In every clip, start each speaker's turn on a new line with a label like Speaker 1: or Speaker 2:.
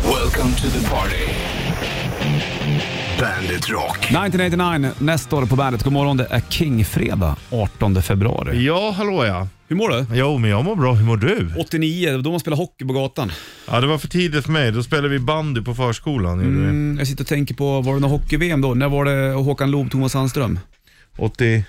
Speaker 1: Welcome to the party. Bandit Rock.
Speaker 2: 1989, nästa år på bandet. God morgon, det är Kingfredag 18 februari.
Speaker 3: Ja, hallå ja.
Speaker 2: Hur mår du?
Speaker 3: Jo, men jag mår bra. Hur mår du?
Speaker 2: 89, det var då man spelade hockey på gatan.
Speaker 3: Ja, det var för tidigt för mig. Då spelade vi bandy på förskolan. gjorde vi.
Speaker 2: Mm, jag sitter och tänker på, var det någon hockey-VM då? När var det Håkan Loob, Thomas Sandström?
Speaker 3: 87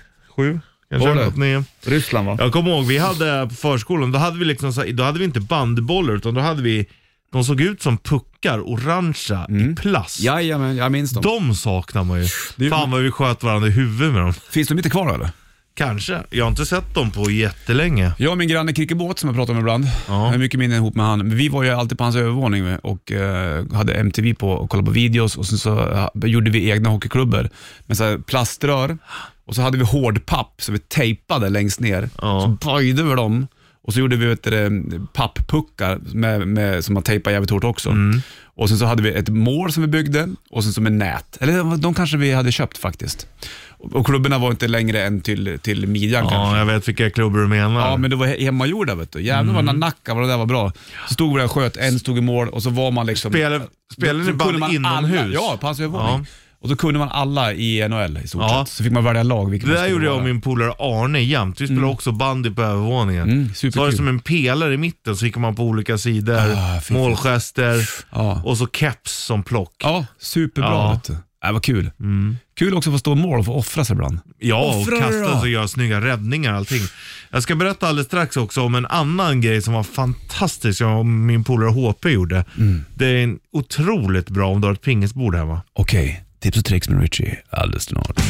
Speaker 3: kanske?
Speaker 2: Var det?
Speaker 3: 89.
Speaker 2: Ryssland va?
Speaker 3: Jag kommer ihåg, vi hade på förskolan, då hade vi liksom så, här- då hade vi inte bandbollar utan då hade vi, de såg ut som puckar, orangea i plast.
Speaker 2: Jajamän, jag minns dem.
Speaker 3: De saknar man ju.
Speaker 2: Mm. Det är-
Speaker 3: Fan vad vi sköt varandra i huvudet med dem.
Speaker 2: Finns de inte kvar då, eller?
Speaker 3: Kanske. Jag har inte sett dem på jättelänge.
Speaker 2: Jag och min granne Kricke Båth som jag pratar om ibland,
Speaker 3: Ja.
Speaker 2: jag har mycket minnen ihop med han. Men Vi var ju alltid på hans övervåning och eh, hade MTV på och kollade på videos och sen så eh, gjorde vi egna hockeyklubbor med så här plaströr och så hade vi hårdpapp som vi tejpade längst ner.
Speaker 3: Ja.
Speaker 2: Så böjde vi dem och så gjorde vi vet du, det, papppuckar med, med, som man tejpade jävligt hårt också.
Speaker 3: Mm.
Speaker 2: Och sen så hade vi ett mål som vi byggde och sen som en nät. Eller de kanske vi hade köpt faktiskt. Och och klubborna var inte längre än till, till midjan kanske.
Speaker 3: Ja, jag vet vilka klubbor du menar.
Speaker 2: Ja, men det var he- hemmagjorda vet du. Jävlar vad mm. Nacka vad det där var bra. Så stod vi där och sköt, en stod i mål och så var man liksom...
Speaker 3: Spelade- spelade
Speaker 2: då-
Speaker 3: ni
Speaker 2: så
Speaker 3: band
Speaker 2: kunde man
Speaker 3: inomhus?
Speaker 2: Alla, ja, på hans övervåning. Och då kunde man alla i NHL i stort
Speaker 3: Ja.
Speaker 2: sett. Så fick man välja lag. vilket
Speaker 3: Det
Speaker 2: man
Speaker 3: där
Speaker 2: skulle
Speaker 3: gjorde jag
Speaker 2: vara.
Speaker 3: och min polare Arne jämt. Vi spelade också bandy på övervåningen.
Speaker 2: Mm,
Speaker 3: så
Speaker 2: superkul.
Speaker 3: var det som en pelare i mitten, så gick man på olika sidor.
Speaker 2: Ah, fy-
Speaker 3: målgester
Speaker 2: Ja.
Speaker 3: och så keps som plock. Ja,
Speaker 2: Ja, superbra
Speaker 3: Ja. Mm.
Speaker 2: vet du. Äh, vad kul. Kul också att få stå i mål och få offra sig ibland.
Speaker 3: och
Speaker 2: Offra dig
Speaker 3: kasta
Speaker 2: då.
Speaker 3: och göra snygga räddningar och allting. Jag ska berätta alldeles strax också om en annan grej som var fantastisk som jag och min polare HP gjorde.
Speaker 2: Mm.
Speaker 3: Det är en otroligt bra om du har ett pingisbord hemma.
Speaker 2: Okej, tips och tricks med Richie alldeles snart.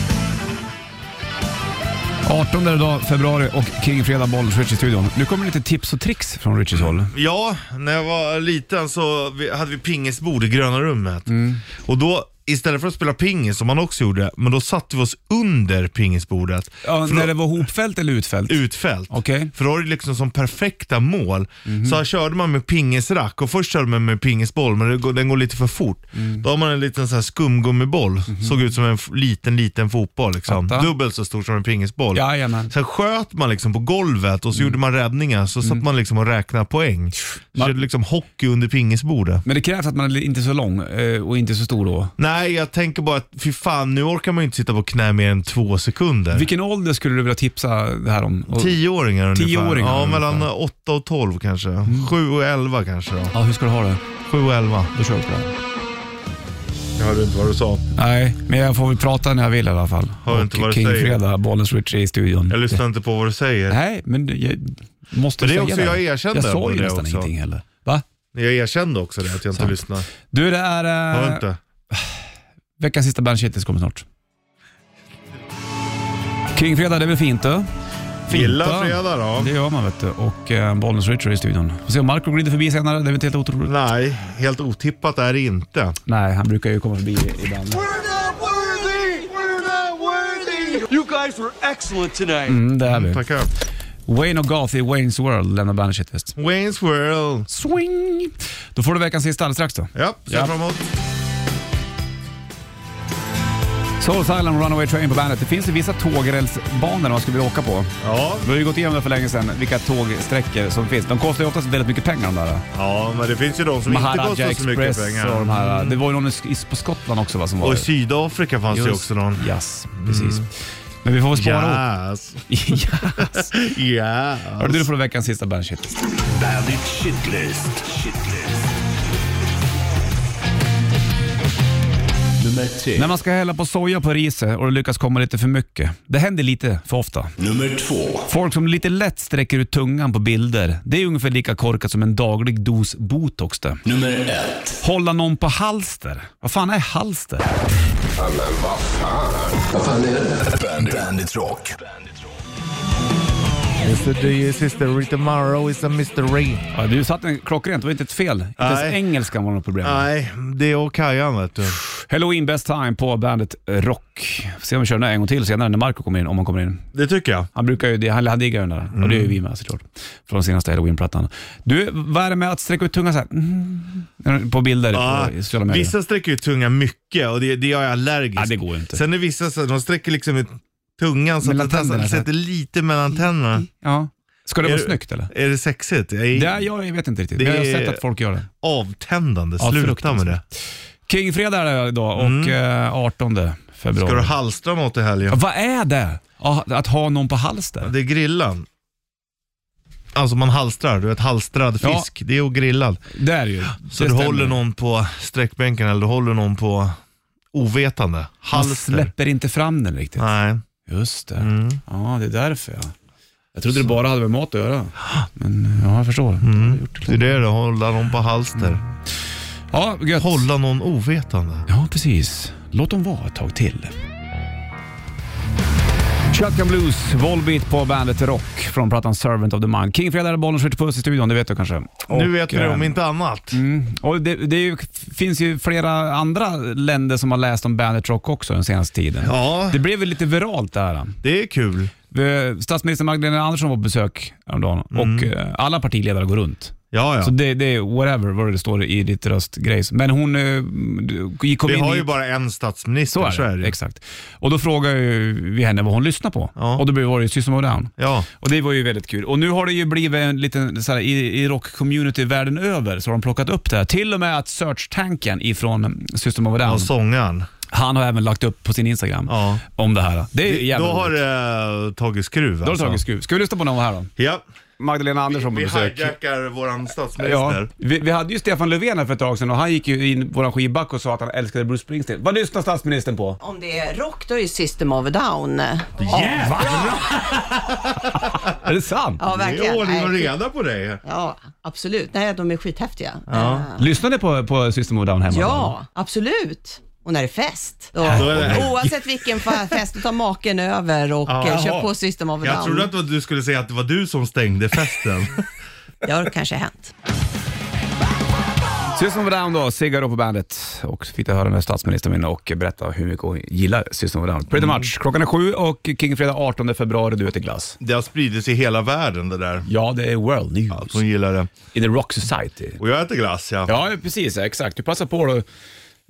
Speaker 2: 18 idag, februari och King Fredag Bollnäs, Richie studion. Nu kommer lite tips och tricks från Richies håll.
Speaker 3: Ja, när jag var liten så vi- hade vi pingisbord i gröna rummet.
Speaker 2: Mm.
Speaker 3: Och då, istället för att spela pingis som man också gjorde, men då satte vi oss under pingisbordet.
Speaker 2: Ja,
Speaker 3: För
Speaker 2: när
Speaker 3: då-
Speaker 2: det var hopfält eller utfält?
Speaker 3: Utfält.
Speaker 2: Okej. Mhm.
Speaker 3: För då är det liksom som perfekta mål. Så här körde man med pingisrack och först körde man med pingisboll men det går- den går lite för fort.
Speaker 2: Mm.
Speaker 3: Då har man en liten så här skumgummiboll,
Speaker 2: Mhm.
Speaker 3: såg ut som en f- liten liten fotboll. Liksom.
Speaker 2: Fattar.
Speaker 3: Dubbelt så stor som en pingisboll.
Speaker 2: Jajamän.
Speaker 3: Sen sköt man liksom på golvet och så gjorde man räddningar så satt man liksom och räknade poäng. Så
Speaker 2: Mm. Man-
Speaker 3: körde liksom hockey under pingisbordet.
Speaker 2: Men det krävs att man är inte är så lång eh, och inte så stor då.
Speaker 3: Nej, jag tänker bara att fy fan, nu orkar man ju inte sitta på knä mer än två sekunder.
Speaker 2: Vilken ålder skulle du vilja tipsa det här om? Och,
Speaker 3: Tioåringar ungefär.
Speaker 2: Tioåringar
Speaker 3: ja,
Speaker 2: ungefär. Mm.
Speaker 3: mellan 8 och 12 kanske. 7 och 11 kanske då.
Speaker 2: ja, hur ska du ha det?
Speaker 3: 7 och 11.
Speaker 2: Då kör vi på det.
Speaker 3: Jag hörde inte vad du sa.
Speaker 2: Nej, men jag får väl prata när jag vill i alla fall.
Speaker 3: Hör inte vad du
Speaker 2: King
Speaker 3: säger.
Speaker 2: Fredag, Bollens Richie i studion.
Speaker 3: Jag lyssnar inte på vad du säger.
Speaker 2: Nej, men jag måste
Speaker 3: Men det är
Speaker 2: säga
Speaker 3: också jag erkände
Speaker 2: Jag sa
Speaker 3: på
Speaker 2: ju
Speaker 3: det
Speaker 2: nästan
Speaker 3: också.
Speaker 2: ingenting heller. Va?
Speaker 3: Jag erkände också det, att jag inte
Speaker 2: Sant.
Speaker 3: lyssnar.
Speaker 2: Du, det är
Speaker 3: Hör
Speaker 2: eh,
Speaker 3: inte.
Speaker 2: veckans sista Bandit Shitlist kommer snart. King Fredag, det är väl fint du?
Speaker 3: Gilla
Speaker 2: va?
Speaker 3: fredag då.
Speaker 2: Det gör man vet du. Och eh, Bollens Richie i studion. Får se om Marco glider förbi senare, det är väl inte helt otroligt.
Speaker 3: Nej, helt otippat är det inte.
Speaker 2: Nej, han brukar ju komma förbi ibland.
Speaker 4: We're not worthy! We're not worthy! You guys were excellent tonight.
Speaker 2: Mm, det är vi.
Speaker 3: Tackar.
Speaker 2: Wayne och Garth i Wayne's World lämnar bandet shitlist.
Speaker 3: Wayne's World.
Speaker 2: Swing! Då får du veckans sista alldeles strax då.
Speaker 3: Ja, ser
Speaker 2: Ja.
Speaker 3: fram emot.
Speaker 2: Soul Silent Runaway Train på bandet. Det finns ju vissa tågrälsbanor man skulle vilja åka på.
Speaker 3: Ja.
Speaker 2: Vi har ju gått igenom det för länge sedan, vilka tågsträckor som finns. De kostar ju oftast väldigt mycket pengar de där.
Speaker 3: ja, men det finns ju de som inte
Speaker 2: Maharaja
Speaker 3: kostar så mycket
Speaker 2: Express
Speaker 3: pengar. Mm.
Speaker 2: och de här. Det var ju någon i- på Skottland också va, som var
Speaker 3: Och i Sydafrika fanns det ju också någon. Mm.
Speaker 2: Yes, precis. Men vi får väl spara
Speaker 3: Yes.
Speaker 2: yes. upp.
Speaker 3: Yes.
Speaker 2: Hörru du, då får du veckans sista bandet shitlist.
Speaker 1: Bandit Shitlist. Shitlist. Nummer tre.
Speaker 2: När man ska hälla på soja på riset och det lyckas komma lite för mycket. Det händer lite för ofta.
Speaker 1: Nummer två.
Speaker 2: Folk som lite lätt sträcker ut tungan på bilder, det är ungefär lika korkat som en daglig dos botox det.
Speaker 1: Nummer ett.
Speaker 2: Hålla någon på halster. Vad fan är halster?
Speaker 1: Bandit, Bandit Rock. Bandit Rock.
Speaker 3: Mr. Do you sister tomorrow is a mystery.
Speaker 2: Ja, du satte den klockrent, det var inte ett fel. Inte ens
Speaker 3: Nej.
Speaker 2: engelskan var något problem.
Speaker 3: Nej, det är och Kajan vet du.
Speaker 2: Halloween best time på bandet Rock. Får se om vi kör den här en gång till senare när Marco kommer in, om han kommer in.
Speaker 3: Det tycker jag.
Speaker 2: Han brukar ju, det- han, han diggar ju den där. Och det är ju vi med såklart. Från senaste halloween-plattan. Du, vad är det med att sträcka ut tungan såhär? Mm, på bilder
Speaker 3: Ja,
Speaker 2: på sociala medier?
Speaker 3: Ah, vissa sträcker ju tungan mycket och det, det är jag allergisk.
Speaker 2: Ja, det går ju inte.
Speaker 3: Sen är vissa så de sträcker liksom ut tungan så att
Speaker 2: Mellan
Speaker 3: det nästan
Speaker 2: tänderna, så här.
Speaker 3: sätter lite mellan tänderna.
Speaker 2: Ja. Ska det vara
Speaker 3: Är-
Speaker 2: snyggt eller?
Speaker 3: Är det sexigt? Jag är
Speaker 2: Det, jag vet inte riktigt,
Speaker 3: Det
Speaker 2: men jag har
Speaker 3: är-
Speaker 2: sett att folk gör det.
Speaker 3: avtändande.
Speaker 2: Ja,
Speaker 3: Sluta med
Speaker 2: fruktansvärt.
Speaker 3: det.
Speaker 2: Kingfredag är det idag och eh, 18 februari.
Speaker 3: Mm. Ska du halstra något i
Speaker 2: Ja,
Speaker 3: helgen?
Speaker 2: Vad är det? Ja, Att ha någon på halster?
Speaker 3: Det är grillan. Alltså man halstrar, du vet halstrad
Speaker 2: Ja.
Speaker 3: fisk. Det är att grillad.
Speaker 2: Det är det ju.
Speaker 3: Så
Speaker 2: det
Speaker 3: du
Speaker 2: stämmer.
Speaker 3: håller någon på sträckbänken eller du håller någon på ovetande.
Speaker 2: Man
Speaker 3: Halster.
Speaker 2: släpper inte fram den riktigt.
Speaker 3: Nej.
Speaker 2: Just det.
Speaker 3: Mm.
Speaker 2: Ja, det är därför ja. Jag trodde det bara hade med mat att göra. Men ja, jag förstår.
Speaker 3: Mm. Det är det du håller någon på halster.
Speaker 2: Ja, gött.
Speaker 3: Hålla någon ovetande.
Speaker 2: Ja, precis. Låt dem vara ett tag till. Shotgun Blues, Volbeat på bandet Rock från plattan Servant of the Monk. Kingfredag är bollen skjuter puss i studion, det vet du kanske?
Speaker 3: nu
Speaker 2: Och,
Speaker 3: vet vi det om
Speaker 2: eh,
Speaker 3: inte annat.
Speaker 2: Och det det är ju, finns ju flera andra länder som har läst om bandet Rock också den senaste tiden.
Speaker 3: Ja,
Speaker 2: Det blev väl lite viralt det här.
Speaker 3: det är kul.
Speaker 2: Eh, Statsminister Magdalena Andersson var på besök häromdagen och
Speaker 3: Mm.
Speaker 2: eh, alla partiledare går runt.
Speaker 3: Ja,
Speaker 2: Så
Speaker 3: ja.
Speaker 2: det, det är whatever vad det står i ditt röstgrej. Men hon eh, gick- kom
Speaker 3: Vi
Speaker 2: in
Speaker 3: har
Speaker 2: i...
Speaker 3: ju bara en statsminister,
Speaker 2: Så är det.
Speaker 3: ju.
Speaker 2: Exakt. Och då frågade ju vi henne vad hon lyssnar på.
Speaker 3: Ja.
Speaker 2: Och då blev- var det ju System of a Down.
Speaker 3: Ja,
Speaker 2: Och det var ju väldigt kul. Och nu har det ju blivit en liten, så här, i, i rock-community världen över så har de plockat upp det här. Till och med att Search-tanken ifrån System of a Down,
Speaker 3: och sångaren.
Speaker 2: han har även lagt upp på sin Instagram
Speaker 3: Ja.
Speaker 2: om det här. Det är
Speaker 3: Det,
Speaker 2: jävligt
Speaker 3: då har
Speaker 2: roligt.
Speaker 3: det tagit skruv
Speaker 2: Då har
Speaker 3: alltså.
Speaker 2: det tagit skruv. Ska vi lyssna på någon här då?
Speaker 3: Ja.
Speaker 2: Magdalena Andersson på
Speaker 3: Vi
Speaker 2: besök.
Speaker 3: hijackar våran
Speaker 2: Ja,
Speaker 3: statsminister.
Speaker 2: vi, vi hade ju Stefan Löfven här för ett tag sedan och han gick ju in våran skivback och sa att han älskade Bruce Springsteen. Vad lyssnar statsministern på?
Speaker 5: Om det är rock, då är ju System of a Down.
Speaker 2: Är det sant?
Speaker 5: Ja,
Speaker 3: Det är
Speaker 5: verkligen.
Speaker 3: ordning och
Speaker 5: Nej,
Speaker 3: reda på dig.
Speaker 5: Ja, absolut. Nej, de är skithäftiga. Eh,
Speaker 2: Lyssnar ni på, på System of a Down hemma?
Speaker 5: Ja, absolut. Och när det är fest. Då,
Speaker 3: är det-
Speaker 5: oavsett vilken fa- fest, då tar maken över och
Speaker 3: Ja.
Speaker 5: eh,
Speaker 3: Jaha.
Speaker 5: kör på System of a Down.
Speaker 3: Jag trodde att du skulle säga att det var du som stängde festen.
Speaker 5: Det har kanske hänt.
Speaker 2: System of a Down då, Sigge då på bandet. Och så fick jag höra med statsministern min och berätta hur mycket hon gillar System of a Down. Pretty much. Klockan är sju och Kingfredag 18 februari, du äter glass.
Speaker 3: Det har spridits i hela världen det där.
Speaker 2: Ja, det är world news.
Speaker 3: Att hon gillar det.
Speaker 2: Alltså, In the rock society.
Speaker 3: Och jag äter glass ja.
Speaker 2: Ja, precis. Exakt. Du passar på då.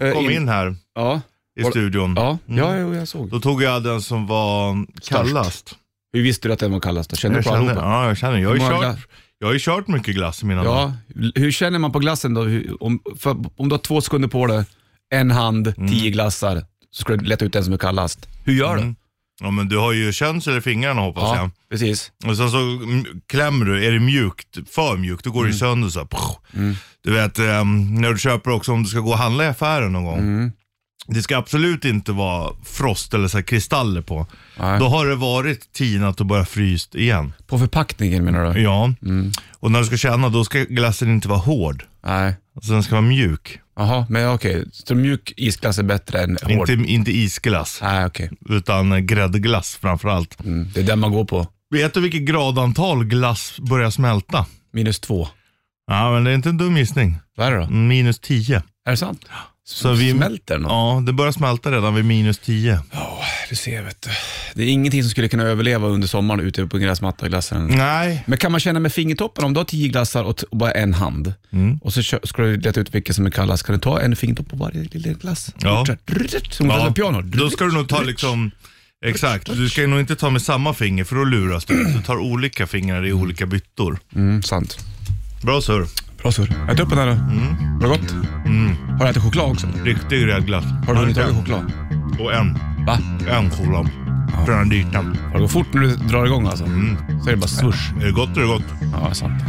Speaker 2: eh,
Speaker 3: Kom in Mm. här
Speaker 2: Ja.
Speaker 3: i studion.
Speaker 2: Ja, ja, jo, jag såg.
Speaker 3: Då tog jag den som var kallast.
Speaker 2: Hur visste du att den var kallast då? Kände du
Speaker 3: Jag
Speaker 2: på
Speaker 3: känner,
Speaker 2: allihopa?
Speaker 3: ja, jag känner. Jag har ju
Speaker 2: Hur många
Speaker 3: kört,
Speaker 2: glass?
Speaker 3: jag har ju kört mycket glass i mina dagar.
Speaker 2: Ja, hur känner man på glassen då? Hur- Om, för, om du har två sekunder på dig, en hand,
Speaker 3: Mm.
Speaker 2: tio glassar, så ska du leta ut den som är kallast. Hur gör du?
Speaker 3: Mm. Ja, men du har ju känsel i fingrarna hoppas
Speaker 2: Ja, precis.
Speaker 3: jag. Och sen så mm, klämmer du, är det mjukt, för mjukt, då går det
Speaker 2: Mm.
Speaker 3: ju sönder så här, pff. Du vet, ehm, när du köper också, om du ska gå och handla i affären någon gång.
Speaker 2: Mm.
Speaker 3: Det ska absolut inte vara frost eller så här kristaller på.
Speaker 2: Nej.
Speaker 3: Då har det varit tinat och bara fryst igen.
Speaker 2: På förpackningen menar du?
Speaker 3: Ja.
Speaker 2: Mm.
Speaker 3: Och när du ska känna, då ska glassen inte vara hård.
Speaker 2: Nej.
Speaker 3: Alltså, den ska vara mjuk.
Speaker 2: Jaha, men ja, okej. Så mjuk isglass är bättre än hård?
Speaker 3: Inte, inte isglass,
Speaker 2: Nej, okej.
Speaker 3: utan eh, gräddglass framförallt.
Speaker 2: Mm. Det är den man går på.
Speaker 3: Vet du vilket gradantal glass börjar smälta?
Speaker 2: Minus två.
Speaker 3: Ja, men det är inte en dum gissning.
Speaker 2: Vad är det då?
Speaker 3: Minus 10.
Speaker 2: Är det sant?
Speaker 3: Så vi-
Speaker 2: Smälter något?
Speaker 3: Ja, det börjar smälta redan vid minus 10.
Speaker 2: Du ser vet du. Det är ingenting som skulle kunna överleva under sommaren ute på en gräsmatta, glassen.
Speaker 3: Nej.
Speaker 2: Men kan man känna med fingertoppen, om du har tio glassar och, t- och bara en hand
Speaker 3: Mm.
Speaker 2: och så kö- ska du leta ut vilken som är kallast, kan du ta en fingertopp på varje liten glass?
Speaker 3: Ja.
Speaker 2: Gjort så här. Drrrt, Som ja. piano.
Speaker 3: Då ska du nog ta liksom, exakt, du ska ju nog inte ta med samma finger för då luras du. Du tar olika fingrar i olika byttor.
Speaker 2: Mm, sant.
Speaker 3: Bra surr.
Speaker 2: Bra surr. Ät upp den här då.
Speaker 3: Mm.
Speaker 2: Var det gott? Har du ätit choklad också?
Speaker 3: Riktig gräddglass.
Speaker 2: Har du hunnit tagit choklad?
Speaker 3: Och en.
Speaker 2: Va?
Speaker 3: En choklad. Från den dytan.
Speaker 2: Har det gått fort när du drar igång alltså? Så är det bara swoosh.
Speaker 3: Är det gott är det gott.
Speaker 2: Ja, sant.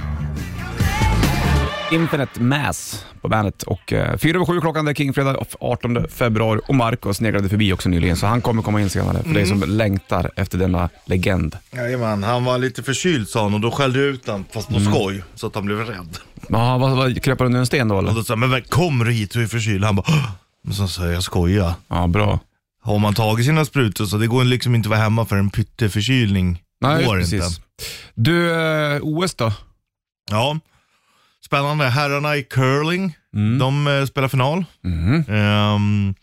Speaker 2: Infinite Mass på bandet och eh, fyra över sju klockan, det är Kingfredag 18 februari och Marco sneglade förbi också nyligen så han kommer komma in senare för dig som längtar efter denna legend.
Speaker 3: Jajamän, han var lite förkyld sa han och då skällde jag ut han fast på
Speaker 2: Mm.
Speaker 3: skoj. Så att han blev rädd.
Speaker 2: Ja, vad, vad, kröp han under en sten då
Speaker 3: Och
Speaker 2: eller?
Speaker 3: då sa jag, men vem- kommer du hit du är förkyld? Han bara, "Åh!" men så sa jag, jag skojar.
Speaker 2: Ja, bra.
Speaker 3: Har man tagit sina sprutor så det går liksom inte att vara hemma för en pytteförkylning.
Speaker 2: Nej,
Speaker 3: går
Speaker 2: precis.
Speaker 3: inte.
Speaker 2: Du, eh, OS då?
Speaker 3: Ja. Spännande. Herrarna i curling,
Speaker 2: Mm.
Speaker 3: de eh, spelar final. Ehm,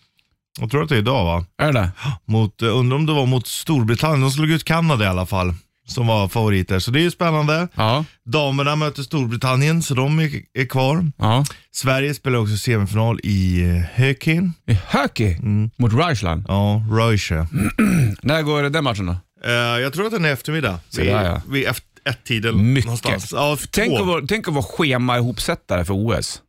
Speaker 3: jag tror att det är idag va?
Speaker 2: Är det det
Speaker 3: Mot, eh, undrar om det var mot Storbritannien. De slog ut Kanada i alla fall, som var favoriter. Så det är ju spännande.
Speaker 2: Ja.
Speaker 3: Damerna möter Storbritannien, så de är, är kvar.
Speaker 2: ja.
Speaker 3: Sverige spelar också semifinal i eh, Hökin.
Speaker 2: I hockey mot Ryssland.
Speaker 3: Ja, Röische.
Speaker 2: När går den matchen då?
Speaker 3: Eh, jag tror att den är eftermiddag.
Speaker 2: där, ja.
Speaker 3: vi, efter, ett tiden någonstans.
Speaker 2: Mycket.
Speaker 3: Ja,
Speaker 2: tänk,
Speaker 3: två.
Speaker 2: att vara, tänk att vara schema ihopsättare för OS.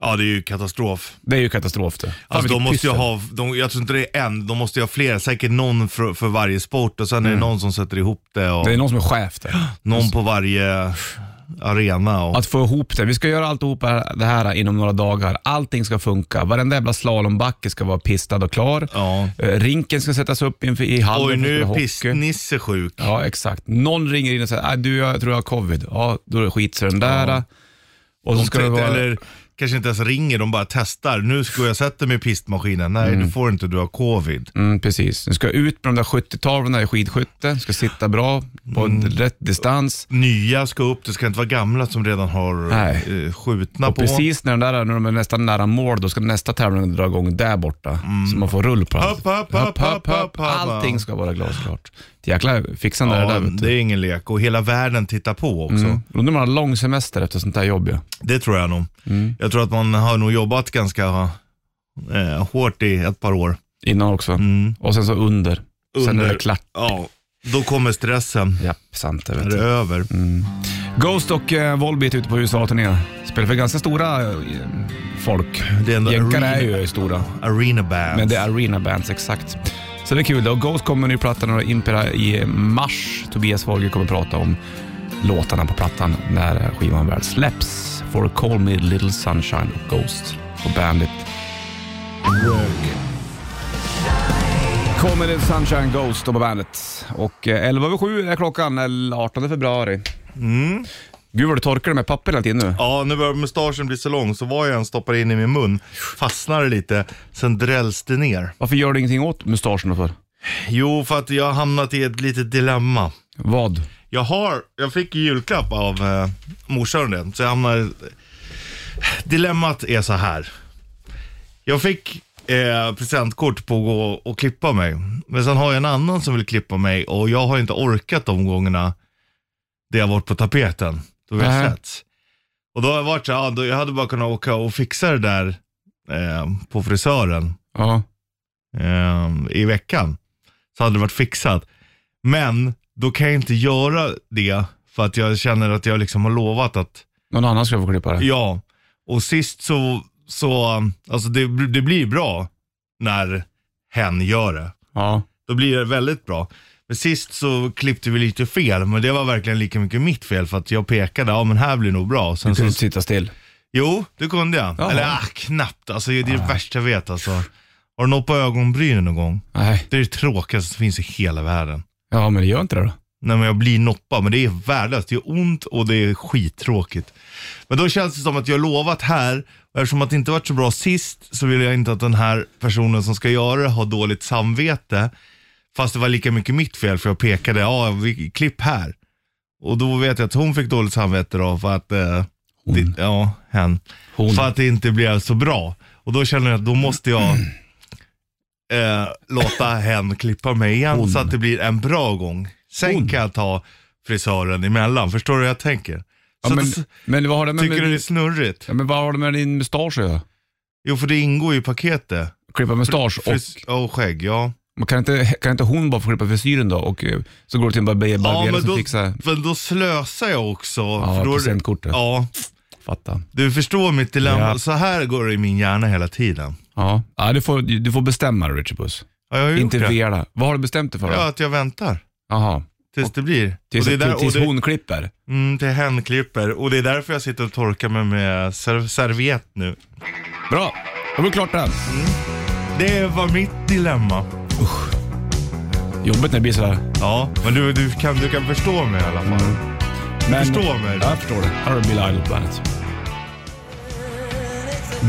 Speaker 3: ja, det är ju katastrof.
Speaker 2: Det är ju katastrof det. Fan,
Speaker 3: Alltså, de
Speaker 2: vilket
Speaker 3: måste ju
Speaker 2: pyssel.
Speaker 3: ha, de, jag tror inte det är en, de måste ju ha flera. Säkert någon för, för varje sport och sen är det någon som sätter ihop det och
Speaker 2: Mm. Det är någon som är chef där.
Speaker 3: någon på varje arena. Och,
Speaker 2: Att få ihop det. Vi ska göra alltihop här- det här inom några dagar. Allting ska funka. Varenda jävla slalombacke ska vara pistad och klar.
Speaker 3: Ja.
Speaker 2: Eh, Rinken ska sättas upp inför, i hallen.
Speaker 3: Oj,
Speaker 2: för att
Speaker 3: nu
Speaker 2: spela
Speaker 3: är
Speaker 2: hockey.
Speaker 3: pissnisse sjuk.
Speaker 2: Ja, exakt. Någon ringer in och säger "Ah, du, jag tror jag har covid. Ja, då är det skit så den där. Och så
Speaker 3: De
Speaker 2: ska det
Speaker 3: tänkte-
Speaker 2: vara...
Speaker 3: Eller kanske inte ens ringer, de bara testar. Nu ska jag sätta mig i pistmaskinen. Nej, du får inte, du har covid.
Speaker 2: Mm, precis. Du ska ut med de där 70-tavlorna i skidskytte. Du ska sitta bra på
Speaker 3: Mm.
Speaker 2: rätt distans.
Speaker 3: Nya ska upp, det ska inte vara gamla som redan har
Speaker 2: Nej.
Speaker 3: eh, skjutna
Speaker 2: Och
Speaker 3: på.
Speaker 2: precis när de, där, när de är nästan nära mål, då ska nästa tävling dra igång där borta.
Speaker 3: Mm.
Speaker 2: Så man får rull på allt.
Speaker 3: Hopp, hopp, hopp, hopp, hopp, hopp.
Speaker 2: Allting ska vara glasklart. Ett Jäkla fixande är det
Speaker 3: Ja,
Speaker 2: där. Vet
Speaker 3: det
Speaker 2: du.
Speaker 3: är ingen lek och hela världen tittar på också.
Speaker 2: Mm. Undrar om man har lång semester efter sånt där jobb. Ja.
Speaker 3: Det tror jag nog.
Speaker 2: Mm.
Speaker 3: Jag tror att man har nog jobbat ganska eh, hårt i ett par år.
Speaker 2: Innan också.
Speaker 3: Mm.
Speaker 2: Och sen så under. Sen är det klart.
Speaker 3: Ja, då kommer stressen.
Speaker 2: Ja, sant det.
Speaker 3: När
Speaker 2: Vet
Speaker 3: det är
Speaker 2: du.
Speaker 3: över.
Speaker 2: Mm. Ghost och eh, Volbeat ute på USA-turné. Spelar för ganska stora eh, folk.
Speaker 3: Det är ändå
Speaker 2: Jänkare är
Speaker 3: arena-
Speaker 2: ju stora.
Speaker 3: Arena bands.
Speaker 2: Men det är Arena Bands, exakt. Så det är kul. Och Ghost kommer med en ny platta när Impera i mars. Tobias Wolge kommer prata om låtarna på plattan när skivan väl släpps. For Call Me Little Sunshine och Ghost på Bandit. Call Me Little Sunshine Ghost och på Bandit. Och eh, 11 över 7 är klockan, eller 18 februari. Gud vad du torkar med papper hela tiden nu.
Speaker 3: Ja, nu börjar mustaschen bli så lång så vad jag än stoppar in i min mun fastnar det lite, sen drälls det ner.
Speaker 2: Varför gör du ingenting åt mustaschen då för?
Speaker 3: Jo, för att jag har hamnat i ett litet dilemma.
Speaker 2: Vad?
Speaker 3: Jag har, jag fick ju julklapp av eh, morsan den, så jag hamnar... Dilemmat är så här. Jag fick eh, presentkort på att gå och klippa mig, men sen har jag en annan som vill klippa mig och jag har inte orkat de gångerna det har varit på tapeten. Då har jag
Speaker 2: Nej.
Speaker 3: sett. Och då har jag varit så här, ja, då, jag hade bara kunnat åka och fixa det där eh, på frisören
Speaker 2: Ja.
Speaker 3: eh, i veckan. Så hade det varit fixat. Men då kan jag inte göra det för att jag känner att jag liksom har lovat att,
Speaker 2: Någon annan ska få klippa det.
Speaker 3: ja. Och sist så, så alltså det, det blir bra när hen gör det.
Speaker 2: Ja.
Speaker 3: Då blir det väldigt bra. Men sist så klippte vi lite fel, men det var verkligen lika mycket mitt fel för att jag pekade, ja men här blir nog bra. Sen
Speaker 2: Du kunde
Speaker 3: så,
Speaker 2: inte sitta still.
Speaker 3: jo, det kunde jag.
Speaker 2: Jaha. Ah.
Speaker 3: Eller ah, knappt, alltså det är det värsta jag vet alltså. Har du något på ögonbrynen någon gång?
Speaker 2: Nej.
Speaker 3: Det är det tråkigaste som finns i hela världen.
Speaker 2: Ja, men det gör inte det då.
Speaker 3: Nej men jag blir noppa, men det är värdelöst. Det är ont och det är skittråkigt. Men då känns det som att jag har lovat här, och eftersom att det inte varit så bra sist så vill jag inte att den här personen som ska göra det har dåligt samvete. Fast det var lika mycket mitt fel för jag pekade, ja vi, klipp här. Och då vet jag att hon fick dåligt samvete då för att, eh, det, ja hen.
Speaker 2: Hon.
Speaker 3: För att det inte blev så bra. Och då känner jag att då måste jag eh, låta hen klippa mig igen så att det blir en bra gång. Sen kan jag ta frisören emellan. Förstår du hur jag tänker?
Speaker 2: Ja,
Speaker 3: så
Speaker 2: men,
Speaker 3: att,
Speaker 2: men, vad har det med,
Speaker 3: tycker du det är
Speaker 2: med,
Speaker 3: snurrigt?
Speaker 2: ja, men vad har det med din mustasch att göra?
Speaker 3: Jo, för det ingår ju i paketet.
Speaker 2: Klippa mustasch och...
Speaker 3: Fris- och, skägg, ja.
Speaker 2: Men Kan inte, kan inte hon bara få klippa frisyren då? Och eh, så går det till en barber-
Speaker 3: Ja,
Speaker 2: barberare
Speaker 3: men
Speaker 2: som
Speaker 3: då,
Speaker 2: fixar...
Speaker 3: men då slösar jag också.
Speaker 2: Ja,
Speaker 3: för då,
Speaker 2: presentkortet.
Speaker 3: Ja,
Speaker 2: Fatta.
Speaker 3: du förstår mitt dilemma.
Speaker 2: Ja.
Speaker 3: Så här går det i min hjärna hela tiden.
Speaker 2: Ja, ja du, får, du får bestämma dig, Richard Puss.
Speaker 3: Ja, jag har gjort
Speaker 2: Inte
Speaker 3: det.
Speaker 2: vela. Vad har du bestämt dig för då?
Speaker 3: Ja, att jag väntar
Speaker 2: Jaha.
Speaker 3: tills det blir.
Speaker 2: Tills,
Speaker 3: Och det är där- och
Speaker 2: tills
Speaker 3: det-
Speaker 2: hon klipper?
Speaker 3: Mm, till hänklipper. Och det är därför jag sitter och torkar mig med ser- serviett nu.
Speaker 2: Bra, då var det klart det. här.
Speaker 3: Det var mitt dilemma.
Speaker 2: Jobbigt när det blir sådär.
Speaker 3: Ja, men du, du, kan, du kan förstå mig i alla fall.
Speaker 2: Men,
Speaker 3: förstår mig.
Speaker 2: Ja, jag förstår det. Här har du Bill Idol Bandet.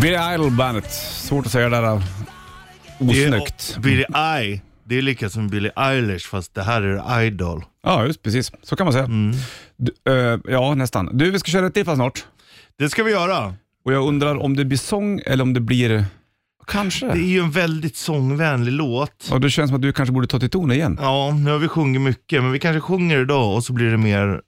Speaker 2: Bill Idol Bandet. Svårt att säga det där.
Speaker 3: Det är-
Speaker 2: Osnyggt.
Speaker 3: och Billie I. Det är lika som Billie Eilish fast det här är Idol.
Speaker 2: Ja, just precis. Så kan man säga. Du, eh, ja, nästan. Du, vi ska köra ett till fast snart.
Speaker 3: Det ska vi göra.
Speaker 2: Och jag undrar om det blir sång eller om det blir... Kanske.
Speaker 3: Det är ju en väldigt sångvänlig låt.
Speaker 2: Ja, det känns som att du kanske borde ta till ton igen.
Speaker 3: Ja, nu har vi sjungit mycket, men vi kanske sjunger idag och så blir det mer...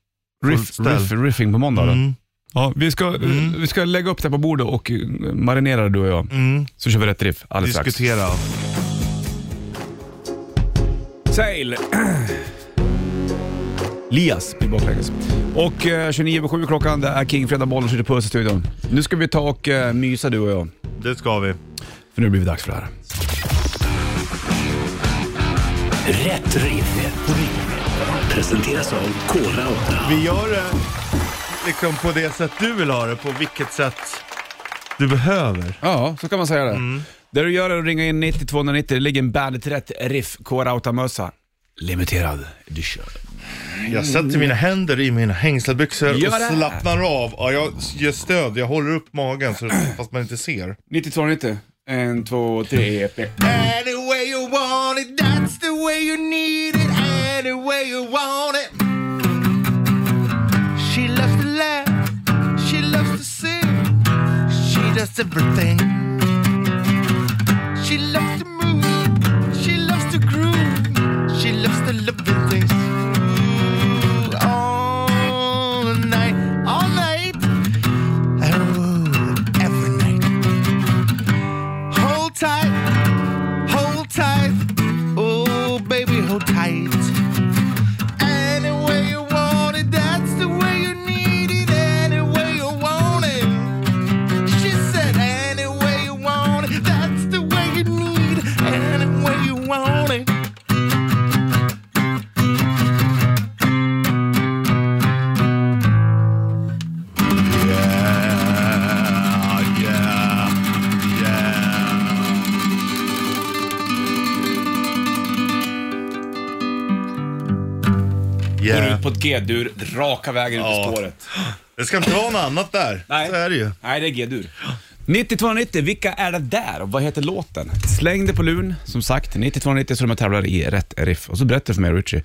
Speaker 2: Riff,
Speaker 3: Fullställ.
Speaker 2: riff, riffing på måndag då.
Speaker 3: Mm,
Speaker 2: Ja, vi, ska, vi ska lägga upp det här på bordet och eh, marinera det, du och jag.
Speaker 3: mm,
Speaker 2: Så kör vi rätt riff alldeles strax.
Speaker 3: diskutera.
Speaker 2: Sail. Lias i baklänges. Och eh, 29 över 7 klockan, det är King, fredag, bollen skjuter puss i studion. Nu ska vi ta och eh, mysa du och jag,
Speaker 3: Det ska vi.
Speaker 2: för nu blir det dags för det här.
Speaker 1: Rätt riff. Rätt riff. Presenteras av Kora 8.
Speaker 3: Vi gör det liksom på det sätt du vill ha det, på vilket sätt du behöver.
Speaker 2: Ja, så kan man säga det. Det du gör är att ringa in 90 290, det ligger en Bandet Rätt Riff K-Rauta-mössa. Limiterad edition.
Speaker 3: Jag sätter mina händer i mina hängselbyxor
Speaker 2: Gör
Speaker 3: och
Speaker 2: det.
Speaker 3: slappnar av. Ja, jag ger stöd, jag håller upp magen så fast man inte ser.
Speaker 2: 90 290, en, två, tre, peck.
Speaker 3: Any way you want it, that's the way you need it. Any way you want it. She loves to laugh, she loves to sing, she does everything. She loves to move, she loves to groove, she loves to love the things. Ooh, all night, all night, oh, every night. Hold tight. Hold tight, oh baby, hold tight. Any way you want it, that's the way you need it. Any way you want it, she said. Any way you want it, that's the way you need it. Any way you want it. Yeah, yeah, yeah.
Speaker 2: Går
Speaker 3: Yeah.
Speaker 2: ut på ett G-dur, raka vägen ut
Speaker 3: Ja.
Speaker 2: på spåret.
Speaker 3: Det ska inte vara något annat där.
Speaker 2: Nej.
Speaker 3: Så är det ju.
Speaker 2: Nej, det är G-dur. 9290, vilka är det där och vad heter låten? Släng det på luren, som sagt. 9290 så de tävlar i rätt riff. Och så berättar du för mig, Richie,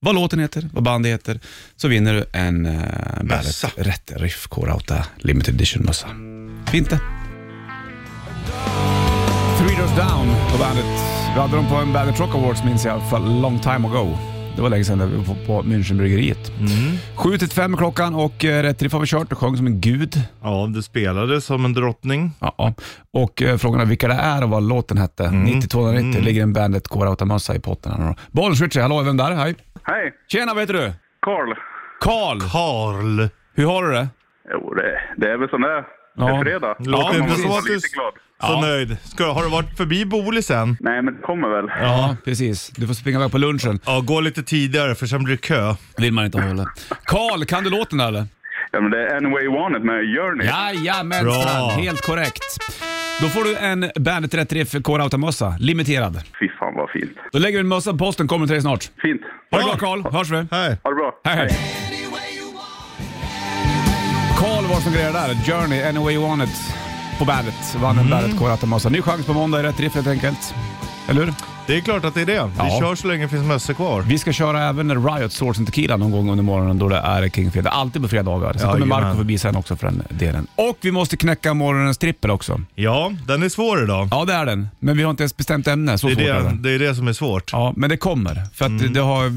Speaker 2: vad låten heter, vad bandet heter, så vinner du en uh, Bandet
Speaker 3: Mössa.
Speaker 2: Rätt Riff K-Rauta Limited Edition-mössa. Fint det. Three Doors Down på bandet. Vi hade dem på en Bandet Rock Awards minns jag, för long time ago. Det var länge sedan, vi var på Münchenbryggeriet. 7 till 5 klockan och eh, Rätt Riff har vi kört och sjöng som en gud.
Speaker 3: Ja, du spelade som en drottning.
Speaker 2: Ja, och eh, frågan är vilka det är och vad låten hette.
Speaker 3: Mm.
Speaker 2: 9290 ligger en bandet K-Rauta-mössa i potten. här nu då. Bollens Richie, hallå, vem där? Hej.
Speaker 6: Hej,
Speaker 2: Tjena, vad heter du?
Speaker 6: Carl.
Speaker 2: Karl.
Speaker 3: Karl.
Speaker 2: Hur har du det?
Speaker 6: Jo, det, det är väl som det är. Det
Speaker 2: Ja.
Speaker 6: är fredag.
Speaker 3: Låter
Speaker 2: Ja,
Speaker 3: inte
Speaker 2: precis.
Speaker 3: som
Speaker 6: Jag
Speaker 3: att
Speaker 6: är
Speaker 3: du
Speaker 6: lite glad.
Speaker 3: så nöjd. Ska, har du varit förbi Bolis än?
Speaker 6: Nej, men det kommer väl.
Speaker 2: Ja, precis. Du får springa iväg på lunchen.
Speaker 3: Ja, gå lite tidigare för sen blir det kö.
Speaker 2: vill man inte hålla. Karl, kan du låten eller?
Speaker 6: Ja, men det är Anyway You Want It med Journey.
Speaker 2: Jajamensan,
Speaker 3: Bra.
Speaker 2: helt korrekt. Då får du en Bandet Rätt Riff K-Rauta-mössa, limiterad.
Speaker 6: Fy fan vad fint.
Speaker 2: Då lägger vi en mössa på posten, kommer till dig snart.
Speaker 6: Fint.
Speaker 2: Ha det bra Karl, hörs vi.
Speaker 3: Hej.
Speaker 6: Ha det bra.
Speaker 2: Hej hej. Karl var som grejade där. Journey, Anyway You Want It på Bandet. Vann en
Speaker 3: Mm.
Speaker 2: Bandet K-Rauta-mössa. Ny chans på måndag i Rätt Riff helt enkelt. Eller hur?
Speaker 3: Det är klart att det är det.
Speaker 2: Ja.
Speaker 3: Vi kör så länge det finns mössor kvar.
Speaker 2: Vi ska köra även Riot Source and Tequila någon gång under morgonen då det är King Fredag. Alltid på fredagar. Sen
Speaker 3: Ja,
Speaker 2: kommer Marco
Speaker 3: jajamän.
Speaker 2: förbi sen också för den delen. Och vi måste knäcka morgonens trippel också.
Speaker 3: Ja, den är svår idag.
Speaker 2: Ja, det är den. Men vi har inte ens bestämt ämne. Så
Speaker 3: Det är
Speaker 2: svårt är
Speaker 3: det,
Speaker 2: det.
Speaker 3: det är det som är svårt.
Speaker 2: Ja, men det kommer. För att
Speaker 3: Mm.
Speaker 2: det, har,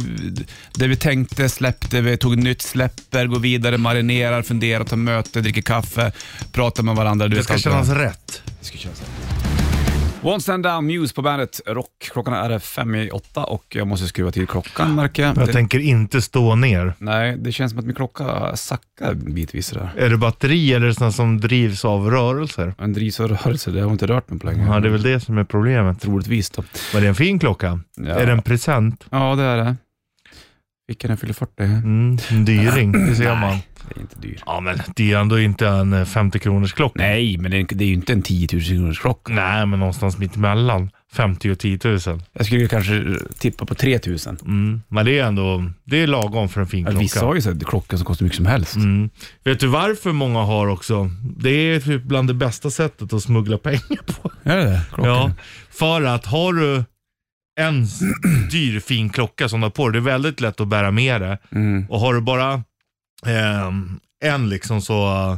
Speaker 2: det vi tänkte, släppte vi, tog nytt, släpper, går vidare, marinerar, funderar, tar möte, dricker kaffe, pratar med varandra. Du
Speaker 3: Det
Speaker 2: vet
Speaker 3: ska
Speaker 2: allt
Speaker 3: kännas
Speaker 2: det
Speaker 3: rätt.
Speaker 2: här. One Stand Down, Muse på bandet Rock. Klockan är fem i åtta och jag måste skruva till klockan märker jag.
Speaker 3: Jag tänker inte stå ner.
Speaker 2: Nej, det känns som att min klocka sackar bitvis där.
Speaker 3: Är det batteri eller sådana som drivs av rörelser?
Speaker 2: En drivs av rörelse, det har inte rört mig på länge.
Speaker 3: Ja, det är väl det som är problemet.
Speaker 2: Troligtvis då.
Speaker 3: Men det är en fin klocka.
Speaker 2: Ja.
Speaker 3: Är det en present?
Speaker 2: Ja, det är det. Vilken den fyller 40.
Speaker 3: Mm, en dyring, det ser man.
Speaker 2: Det är inte dyr.
Speaker 3: Ja, men det är ändå inte en eh, 50 kronors klocka.
Speaker 2: Nej, men det är- det är ju inte en 10 000 kronors klocka.
Speaker 3: Nej, men någonstans mitt emellan 50 och 10 000.
Speaker 2: Jag skulle kanske eh, tippa på 3000.
Speaker 3: Mm. Men det är ändå, det är lagom för en fin
Speaker 2: Ja,
Speaker 3: klocka.
Speaker 2: vissa har ju så här klockor som kostar mycket som helst.
Speaker 3: Mm. Vet du varför många har också? Det är typ bland det bästa sättet att smuggla pengar på.
Speaker 2: Är det det? Klockor?
Speaker 3: Ja, för att har du en s- dyr fin klocka som du har på dig, det är väldigt lätt att bära med det.
Speaker 2: Mm.
Speaker 3: Och har du bara ehm, en liksom så, eh,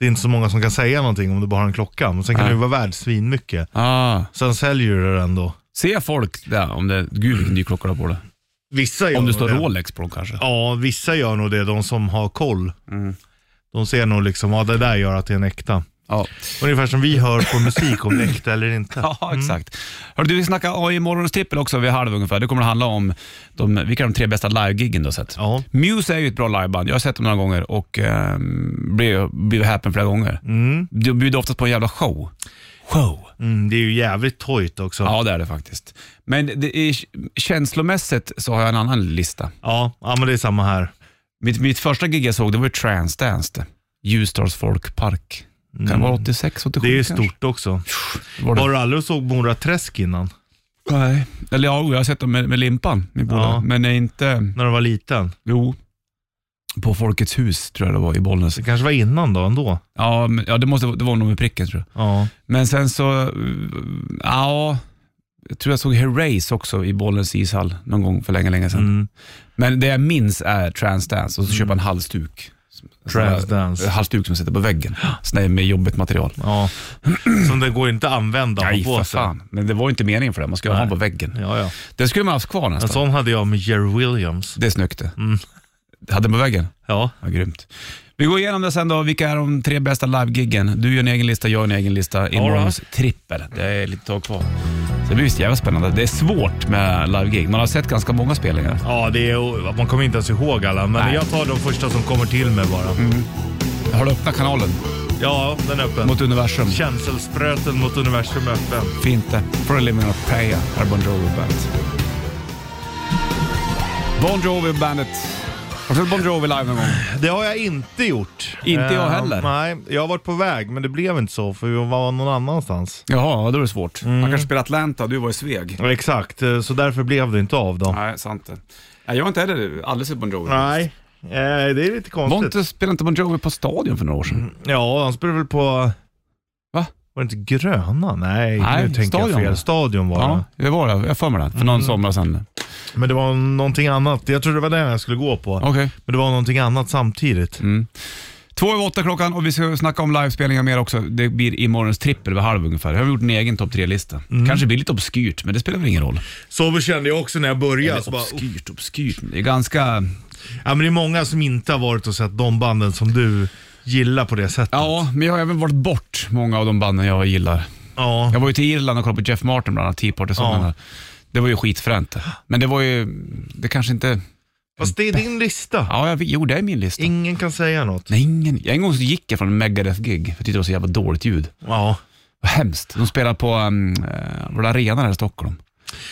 Speaker 3: det är inte så många som kan säga någonting om du bara har en klocka. Men sen kan
Speaker 2: Nej.
Speaker 3: du vara värd svinmycket.
Speaker 2: Ah,
Speaker 3: Sen säljer du den då.
Speaker 2: ser folk där om det... Gud vilken dyr klocka du har på dig.
Speaker 3: Vissa gör
Speaker 2: Om det
Speaker 3: nog
Speaker 2: står
Speaker 3: det.
Speaker 2: Rolex på dem kanske.
Speaker 3: Ja,
Speaker 2: Mm.
Speaker 3: vissa gör nog det, de som har koll. De ser nog liksom, ja det där gör att det är en äkta.
Speaker 2: Ja,
Speaker 3: Ungefär som vi hör på musik, om det är äkta eller inte.
Speaker 2: ja exakt. Hörru, du, vi snackar AI morgonens tippel också vid halv ungefär. Det kommer att handla om de, vilka de tre bästa livegiggen du har sett.
Speaker 3: Ja.
Speaker 2: Muse är ju ett bra liveband. Jag har sett dem några gånger och eh, blivit blev häpen flera gånger. Mm. De bjuder oftast på en jävla show. Show.
Speaker 3: Mm, det är ju jävligt tojt också. Ja.
Speaker 2: Ja, det är det faktiskt. Men det är, känslomässigt så har jag en annan lista.
Speaker 3: Ja, men det är samma här.
Speaker 2: Mitt, mitt första gig jag såg det var ju Transdance, det. Ljusdals folkpark. Kan det vara 86, 87
Speaker 3: Mm. Det är ju
Speaker 2: kanske?
Speaker 3: stort också.
Speaker 2: Var det?
Speaker 3: Var du aldrig och såg Mora Träsk innan?
Speaker 2: Nej. Eller ja, jo, jag har sett dem med, med Limpan, min polare.
Speaker 3: Ja.
Speaker 2: Men är inte...
Speaker 3: När du var liten?
Speaker 2: Jo. På Folkets hus tror jag det var i Bollnäs.
Speaker 3: Det kanske var innan då ändå?
Speaker 2: Ja, men, ja det, måste, det var nog med pricken tror jag.
Speaker 3: Ja.
Speaker 2: Men sen så, eh, ja, jag tror jag såg Herreys också i Bollens ishall någon gång för länge, länge sedan.
Speaker 3: Mm.
Speaker 2: Men det jag minns är Transdance och så köper jag en halsduk.
Speaker 3: Transdance.
Speaker 2: En halsduk som sitter på väggen. Sån där med jobbigt material.
Speaker 3: ja. alltså. Som det går inte att använda och ha
Speaker 2: Nej,
Speaker 3: på
Speaker 2: för
Speaker 3: sig.
Speaker 2: fan. Men det var ju inte meningen för det. Man skulle ha den på väggen.
Speaker 3: Ja, ja.
Speaker 2: Det skulle man haft kvar
Speaker 3: En
Speaker 2: nästan.
Speaker 3: sån Mm. hade jag med Jerry Williams.
Speaker 2: Det är snyggt det. Hade den på väggen?
Speaker 3: Ja.
Speaker 2: Ja, grymt. Vi går igenom det sen då. Vilka är de tre bästa livegiggen? Du gör en egen lista, jag gör en egen lista. Imorgons trippel. Det är lite tag kvar. Så det blir visst jävla spännande. Det är svårt med livegig. Man har sett ganska många spelningar.
Speaker 3: Ja, det är, man kommer inte ens ihåg alla, men
Speaker 2: Nej.
Speaker 3: jag tar de första som kommer till mig bara.
Speaker 2: Har du öppnat kanalen
Speaker 3: Ja, den är öppen.
Speaker 2: mot universum?
Speaker 3: Känselspröten mot universum är öppen.
Speaker 2: Fint det. For a living of prayer, här är Bon Jovi Bandet. Bon Jovi Bandet. Har du sett Bon Jovi live någon gång?
Speaker 3: Det har jag inte gjort. Eh,
Speaker 2: Inte jag heller.
Speaker 3: Nej, jag har varit på väg, men det blev inte så för vi var någon annanstans.
Speaker 2: Jaha, då är det svårt. Mm. Han kanske spelar Atlanta, du var i Sveg.
Speaker 3: Ja, Exakt, eh, så därför blev det inte av då.
Speaker 2: Nej, sant det. Nej, jag har inte heller aldrig sett Bon Jovi.
Speaker 3: Nej, eh, det är lite
Speaker 2: Var
Speaker 3: konstigt.
Speaker 2: inte, spelade inte Bon Jovi på Stadion för några år sedan?
Speaker 3: Ja, han spelade väl på...
Speaker 2: Va?
Speaker 3: Var det inte Gröna? Nej,
Speaker 2: Nej,
Speaker 3: nu tänker
Speaker 2: Stadion
Speaker 3: jag
Speaker 2: var
Speaker 3: fel.
Speaker 2: det.
Speaker 3: Stadion var
Speaker 2: Ja,
Speaker 3: det.
Speaker 2: det Mm. var det. Jag får mig det. För någon sommar sedan.
Speaker 3: Men det var någonting annat. Jag trodde det var den jag skulle gå på.
Speaker 2: Okej.
Speaker 3: Men det var någonting annat samtidigt.
Speaker 2: Två över åtta klockan och vi ska snacka om livespelningar mer också. Det blir imorgons trippel vid halv ungefär. Jag har gjort en egen topp tre-lista. Kanske blir lite obskyrt, men det spelar väl ingen roll.
Speaker 3: Så kände jag också när jag började. Så bara,
Speaker 2: obskyrt, obskyrt. Det är ganska...
Speaker 3: ja, men det är många som inte har varit och sett de banden som du gillar på det sättet.
Speaker 2: Ja, men jag har även varit bort många av de banden jag gillar.
Speaker 3: Ja.
Speaker 2: Jag var ju till Irland och kollade på Jeff Martin bland annat, Tea Party-sången.
Speaker 3: Ja.
Speaker 2: där. Det var ju skitfränt det. Men det var ju... Det kanske inte...
Speaker 3: Fast det är din lista.
Speaker 2: Ja, jag gjorde det i min lista.
Speaker 3: Ingen kan säga något.
Speaker 2: Nej, ingen. En gång så gick jag från en Megadeth-gig. Jag tyckte det var så jävla dåligt ljud.
Speaker 3: Ja.
Speaker 2: Vad hemskt. De spelade på um, uh, vår arena här i Stockholm.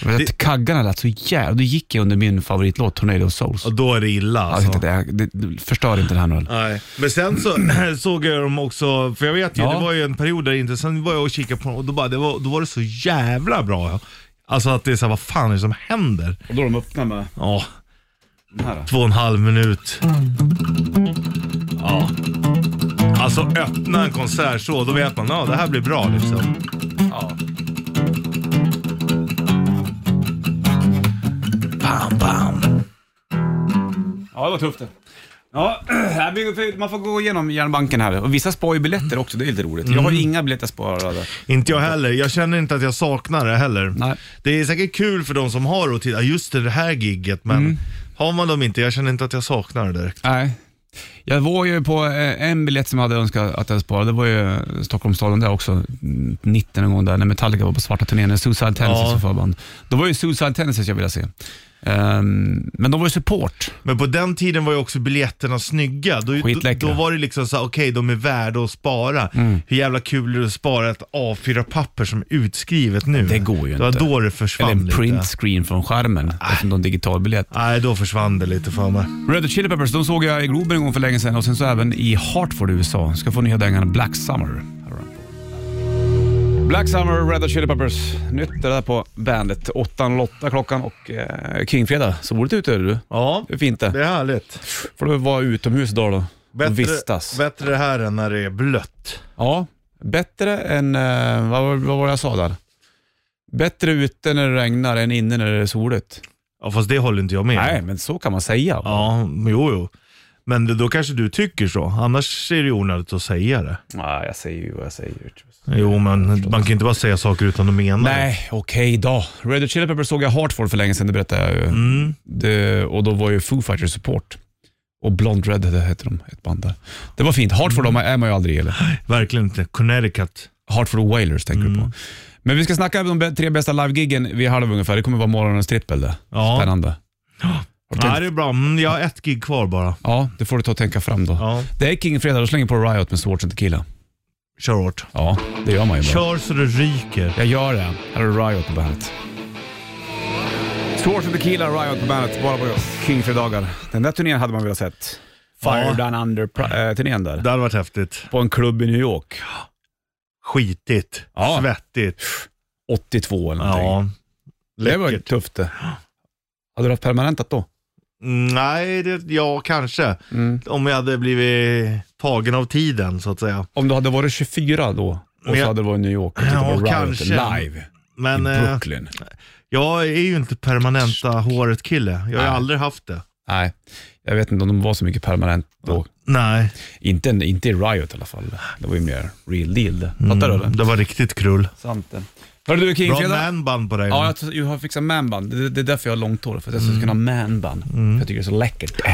Speaker 2: Jag vet
Speaker 3: Det-
Speaker 2: att Kaggarna lät så jävla... Då gick jag under min favoritlåt Tornado of Souls.
Speaker 3: Och då är det illa
Speaker 2: Alltså.
Speaker 3: alltså.
Speaker 2: Jag tänkte, det, det, förstör inte det här nu. eller?
Speaker 3: Nej. Men sen så såg jag dem också, för jag vet ju,
Speaker 2: Ja.
Speaker 3: det var ju en period där inte, sen var jag och kikade på dem och då, bara, det var, då var det så jävla bra. Alltså att det är såhär, vad fan är det som händer?
Speaker 2: Och då de öppnar med
Speaker 3: Ja,
Speaker 2: den här.
Speaker 3: två och en halv minut. Ja. Alltså öppna en konsert så, då vet man, ja det här blir bra liksom.
Speaker 2: Ja. Bam, bam. Ja, det var tufft det. Ja, här blir- man får gå igenom järnbanken här. Och vissa spar ju biljetter också, det är lite roligt. Jag har ju inga biljetter sparade.
Speaker 3: Inte jag heller. Jag känner inte att jag saknar det heller.
Speaker 2: Nej.
Speaker 3: Det är säkert kul för de som har att titta, just det här gigget men
Speaker 2: Mm.
Speaker 3: har man dem inte, jag känner inte att jag saknar det direkt.
Speaker 2: Nej. Jag var ju på eh, en biljett som jag hade önskat att jag sparade. Det var ju Stockholmsstadion där också, mm, 90 någon gång där, när Metallica var på svarta turnén, när Suicide Tendencies
Speaker 3: Ja.
Speaker 2: var förband. Då var ju Suicide Tendencies jag ville se. Ehm, men de var ju support.
Speaker 3: Men på den tiden var ju också biljetterna snygga. Då, då,
Speaker 2: Skitläckra. Mm.
Speaker 3: då var det liksom så här, okej de är värda att spara. Hur jävla kul är det att spara ett A4-papper som är utskrivet nu?
Speaker 2: Det går ju
Speaker 3: det var
Speaker 2: inte.
Speaker 3: då det
Speaker 2: Eller
Speaker 3: försvann
Speaker 2: en print
Speaker 3: lite.
Speaker 2: screen från skärmen, eftersom det är en digital biljett.
Speaker 3: Nej, då försvann det lite för mig.
Speaker 2: Red Hot Chili Peppers, de såg jag i Globen en gång för länge sedan och sen så även i Hartford i USA. Ska få nya dängan Black Summer. Black Summer, Red Hot Chili Peppers. Nytt det där på bandet. 8.08 klockan och eh, Kingfredag. Soligt ute är det du.
Speaker 3: Ja,
Speaker 2: Det är fint
Speaker 3: det
Speaker 2: det.
Speaker 3: är härligt.
Speaker 2: Får du vara utomhus idag då. och vistas.
Speaker 3: bättre det här än när det är blött.
Speaker 2: ja, bättre än, eh, vad, var- vad var det jag sa där? Bättre ute när det regnar än inne när det är soligt.
Speaker 3: Ja, fast det håller inte jag med om.
Speaker 2: Nej, men så kan man säga.
Speaker 3: Ja, jo, jo. Men det- då kanske du tycker så. Annars är det ju onödigt att säga det.
Speaker 2: Nej, jag säger ju vad jag säger.
Speaker 3: Jo, men man kan inte bara säga saker utan att mena det.
Speaker 2: Nej, okej då. Red Hot Chili
Speaker 3: Mm.
Speaker 2: Peppers såg jag i Hartford för länge sedan, det berättade jag ju. Det, och då var ju Foo Fighters support. och Blond Red det heter de, ett band där. Det var fint. Hartford mm. är man ju aldrig eller?
Speaker 3: Verkligen inte. Connecticut.
Speaker 2: Hartford Wailers tänker du
Speaker 3: Mm.
Speaker 2: på. Men vi ska snacka om de bä- tre bästa livegiggen vid halv ungefär. Det kommer vara morgonens trippel det.
Speaker 3: Ja.
Speaker 2: Spännande. Okej.
Speaker 3: Ja, det är bra. Mm, jag har ett gig kvar bara.
Speaker 2: Ja, det får du ta och tänka fram då.
Speaker 3: Ja.
Speaker 2: Det är King Fredag, då slänger på Riot med Swords and Tequila.
Speaker 3: Kör hårt.
Speaker 2: Ja, det gör man ju bara.
Speaker 3: Kör så det ryker.
Speaker 2: Jag gör det. Här har du Riot på bandet. Swords and Tequila, Riot på bandet, bara på King Fredagar. Den där turnén hade man velat sett. Fire
Speaker 3: Ja.
Speaker 2: Down Under-turnén där.
Speaker 3: Det hade varit häftigt.
Speaker 2: På en klubb i New York.
Speaker 3: Skitigt.
Speaker 2: Ja.
Speaker 3: Svettigt.
Speaker 2: 82 eller någonting.
Speaker 3: Ja.
Speaker 2: det var ju
Speaker 3: läckert.
Speaker 2: tufft det. Hade du haft permanentat då?
Speaker 3: Mm, Nej, det, ja kanske. Om jag hade blivit tagen av tiden så att säga.
Speaker 2: Om du hade varit 24 då och
Speaker 3: Men
Speaker 2: så
Speaker 3: jag-
Speaker 2: hade du varit i New York och tittat
Speaker 3: Ja,
Speaker 2: på Riot
Speaker 3: kanske.
Speaker 2: live
Speaker 3: Men
Speaker 2: i
Speaker 3: eh,
Speaker 2: Brooklyn.
Speaker 3: jag är ju inte permanenta håret kille. Jag
Speaker 2: Nej.
Speaker 3: har aldrig haft det.
Speaker 2: Nej, jag vet inte om de var så mycket permanent då.
Speaker 3: Nej,
Speaker 2: Inte, inte i Riot i alla fall. Det var ju mer real deal det. Fattar du eller?
Speaker 3: Mm, det var riktigt krull.
Speaker 2: Sant det. Hörru du King,
Speaker 3: Bra
Speaker 2: fredag.
Speaker 3: manband på dig.
Speaker 2: Ja, jag, tror- jag har fixat manband. Det, det är därför jag har långt hår, för att jag
Speaker 3: Mm.
Speaker 2: ska kunna ha manband. För jag tycker det är så läckert. Äh.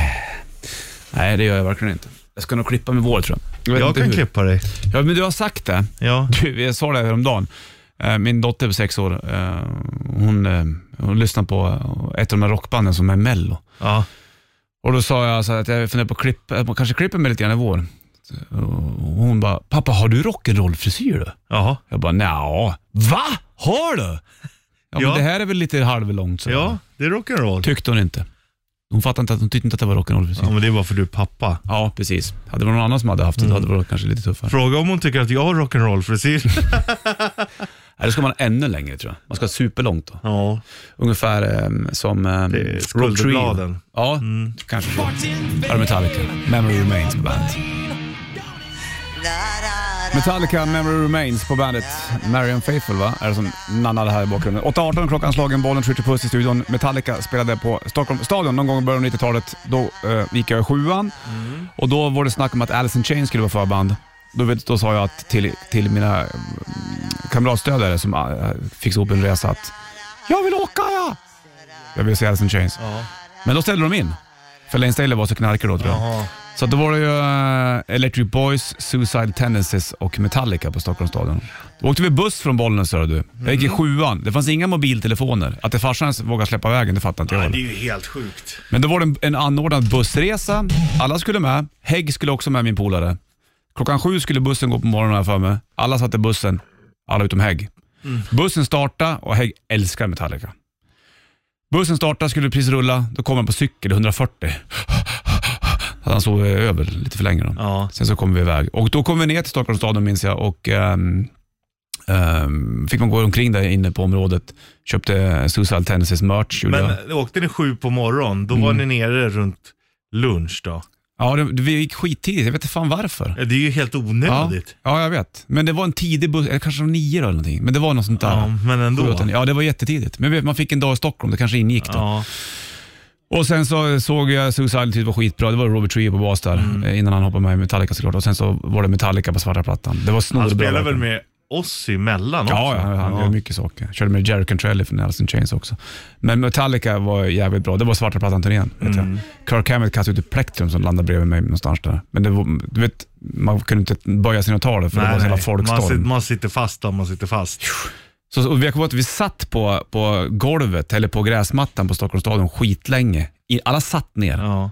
Speaker 2: Nej, det gör jag verkligen inte. Jag ska nog klippa med vår tror jag. vet
Speaker 3: jag
Speaker 2: inte
Speaker 3: kan
Speaker 2: hur.
Speaker 3: klippa dig.
Speaker 2: Ja, men du har sagt det.
Speaker 3: Ja.
Speaker 2: Du, jag sa det häromdagen. Eh, Min dotter på sex år, eh, hon, eh, hon lyssnar på eh, ett av de här rockbanden som är Mello.
Speaker 3: Ja.
Speaker 2: Och då sa jag så här att jag funderar på att klippa, att man kanske klipper mig lite grann i vår. Och hon bara, pappa har du rock'n'roll-frisyr du?
Speaker 3: Jaha.
Speaker 2: Jag bara, nja, va? Har du? Ja,
Speaker 3: Ja.
Speaker 2: men det här är väl lite halvlångt så.
Speaker 3: Ja, det är rock'n'roll.
Speaker 2: Tyckte hon inte. Hon fattade inte att, hon tyckte inte att det var rock'n'roll-frisyr.
Speaker 3: Ja,
Speaker 2: Ja.
Speaker 3: men det var för du är pappa.
Speaker 2: precis. Hade det varit någon annan som hade haft det, då hade
Speaker 3: Mm.
Speaker 2: det varit kanske lite tuffare.
Speaker 3: Fråga om hon tycker att jag har rock'n'roll-frisyr.
Speaker 2: Nej, då ska man ännu längre tror jag. Man ska ha superlångt då.
Speaker 3: ja.
Speaker 2: Ungefär ehm, som um,
Speaker 3: Det är skulderbladen. Mm.
Speaker 2: Ja, kanske så. Här är Metallica, Memory Remains på bandet. Metallica, Memory Remains på bandet. Marion Faithful va? Är det som nannar det här i bakgrunden. 8.18 klockan slagen, bollen skjuter puss i studion. Metallica spelade på Stockholm stadion någon gång i början av 90-talet. Då eh, gick jag i sjuan och då var det snack om att Alice in Chains skulle vara förband. Då, vet, då sa jag att till, till mina eh, kamratstödjare som eh, fixade ihop en resa att jag vill åka ja! Jag vill se Alice in Chains.
Speaker 3: Ja.
Speaker 2: Men då ställde de in. För Lane Staley var så knarkig då tror jag.
Speaker 3: Jaha.
Speaker 2: Så då var det ju eh, Electric Boys, Suicide Tendencies och Metallica på Stockholms stadion. Då åkte vi buss från Bollnäs hörde du. Jag gick i sjuan. Det fanns inga mobiltelefoner. Att det farsan ens vågade släppa vägen, det fattar inte jag.
Speaker 3: Nej, det
Speaker 2: heller.
Speaker 3: är ju helt sjukt.
Speaker 2: Men då var det en, en anordnad bussresa. Alla skulle med. Hägg skulle också med, min polare. Klockan sju skulle bussen gå på morgonen här för mig. Alla satt i bussen, alla utom Hägg.
Speaker 3: Mm.
Speaker 2: Bussen startade och Hägg älskar Metallica. Bussen startade, skulle precis rulla. Då kom han på cykel i 140. Hade han sovit över lite för länge då.
Speaker 3: Ja.
Speaker 2: Sen så kom vi iväg och då kom vi ner till Stockholms stadion minns jag och ehm, ehm, fick man gå omkring där inne på området. Köpte Suicide Tendencies merch. gjorde jag. Mm.
Speaker 3: Men åkte ni sju på morgon, då var ni nere runt lunch då.
Speaker 2: Ja, det, vi gick skittidigt. Jag vet inte fan varför.
Speaker 3: Ja, Det är ju helt
Speaker 2: Ja,
Speaker 3: onödigt.
Speaker 2: ja, jag vet. Men det var en tidig buss, eller kanske nio då eller någonting. Men det var något sånt där.
Speaker 3: Ja, men ändå.
Speaker 2: Sju, åtta, nio. Ja, det var jättetidigt. Men vet, man fick en dag i Stockholm, det kanske ingick då.
Speaker 3: Ja.
Speaker 2: Och sen så såg jag Suicide Attitude var skitbra. Det var Robert Trujillo på bas där,
Speaker 3: Mm.
Speaker 2: eh, innan han hoppade med i Metallica såklart. Och sen så var det Metallica på svarta plattan. Det var
Speaker 3: Han
Speaker 2: snorbra.
Speaker 3: spelar väl
Speaker 2: verkligen.
Speaker 3: med oss emellan
Speaker 2: Ja,
Speaker 3: också?
Speaker 2: ja, han gör mycket saker. Körde med Jerry Cantrelli från Alice in Chains också. Men Metallica var jävligt bra. Det var svarta plattan-turnén. vet
Speaker 3: Mm.
Speaker 2: jag. Kirk Hammett kastade ut ett plektrum som landade bredvid mig någonstans där. Men det var, du vet, man kunde inte böja sina tal för det var en sån jävla
Speaker 3: man, sitter,
Speaker 2: folkstorm.
Speaker 3: man sitter fast då, man sitter fast.
Speaker 2: Så, och jag kommer ihåg att vi satt på, på golvet, eller på gräsmattan på Stockholms stadion skitlänge. I, alla satt ner.
Speaker 3: Ja.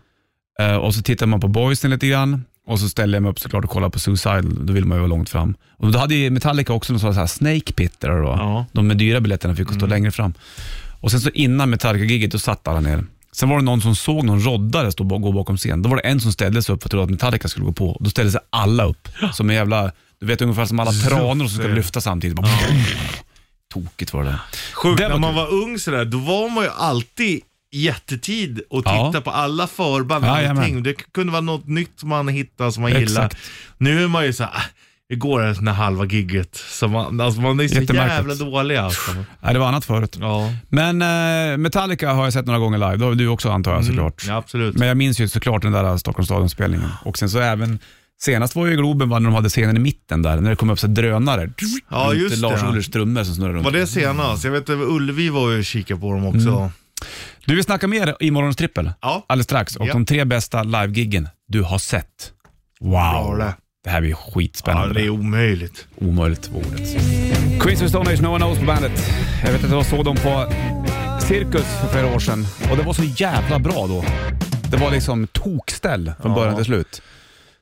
Speaker 2: Eh, och så tittar man på boysen lite grann och så ställer jag mig upp såklart och kollar på Suicide, då vill man ju vara långt fram. Och då hade ju Metallica också någon sån här Snake Pit där då.
Speaker 3: Ja. Mm.
Speaker 2: De med dyra biljetterna fick stå längre fram. Och sen så innan Metallica-giget, då satt alla ner. Sen var det någon som såg någon roddare stå och gå bakom scen. Då var det en som ställde sig upp för att trodde att Metallica skulle gå på. Och Då ställde sig alla upp. Som en jävla, du vet ungefär som alla tranor som ska lyfta samtidigt. Bara, Tokigt var det där.
Speaker 3: Sjukt,
Speaker 2: Det
Speaker 3: när
Speaker 2: var
Speaker 3: man var ung sådär, då var man ju alltid jättetid och
Speaker 2: Ja.
Speaker 3: titta på alla förband. och
Speaker 2: Jajamän.
Speaker 3: allting. Det kunde vara något nytt man hittade som man
Speaker 2: Exakt.
Speaker 3: gillar. Nu är man ju såhär, "Ah, igår är den här halva gigget. Så man, alltså man är så jävla
Speaker 2: Jättemärkligt.
Speaker 3: dålig alltså.
Speaker 2: Nej, det var annat förut.
Speaker 3: Ja,
Speaker 2: Men eh, Metallica har jag sett några gånger live. Det har du också antar jag såklart.
Speaker 3: Mm. ja absolut. Ah.
Speaker 2: Men jag minns ju såklart den där Stockholms stadion-spelningen. Och sen så även, senast var ju i Globen va, när de hade scenen i mitten där, när det kom upp så här drönare.
Speaker 3: Ja,
Speaker 2: Runt
Speaker 3: just
Speaker 2: Lars
Speaker 3: det.
Speaker 2: Ohlers trummor som snurrade runt. Mm,
Speaker 3: Var det senast? Jag vet att Ullevi var ju och kikade på dem också.
Speaker 2: Du vill snacka mer i morgons trippel?
Speaker 3: Ja.
Speaker 2: Alldeles strax. Och
Speaker 3: Ja.
Speaker 2: de tre bästa livegiggen du har sett. Wow.
Speaker 3: det.
Speaker 2: Det här blir
Speaker 3: Ja,
Speaker 2: skitspännande.
Speaker 3: det är omöjligt.
Speaker 2: omöjligt på ordet. Queens of Stone Age, No One Knows på bandet. Jag vet att jag såg dem på Cirkus för flera år sedan och det var så jävla bra då. Det var liksom tokställ från början till slut.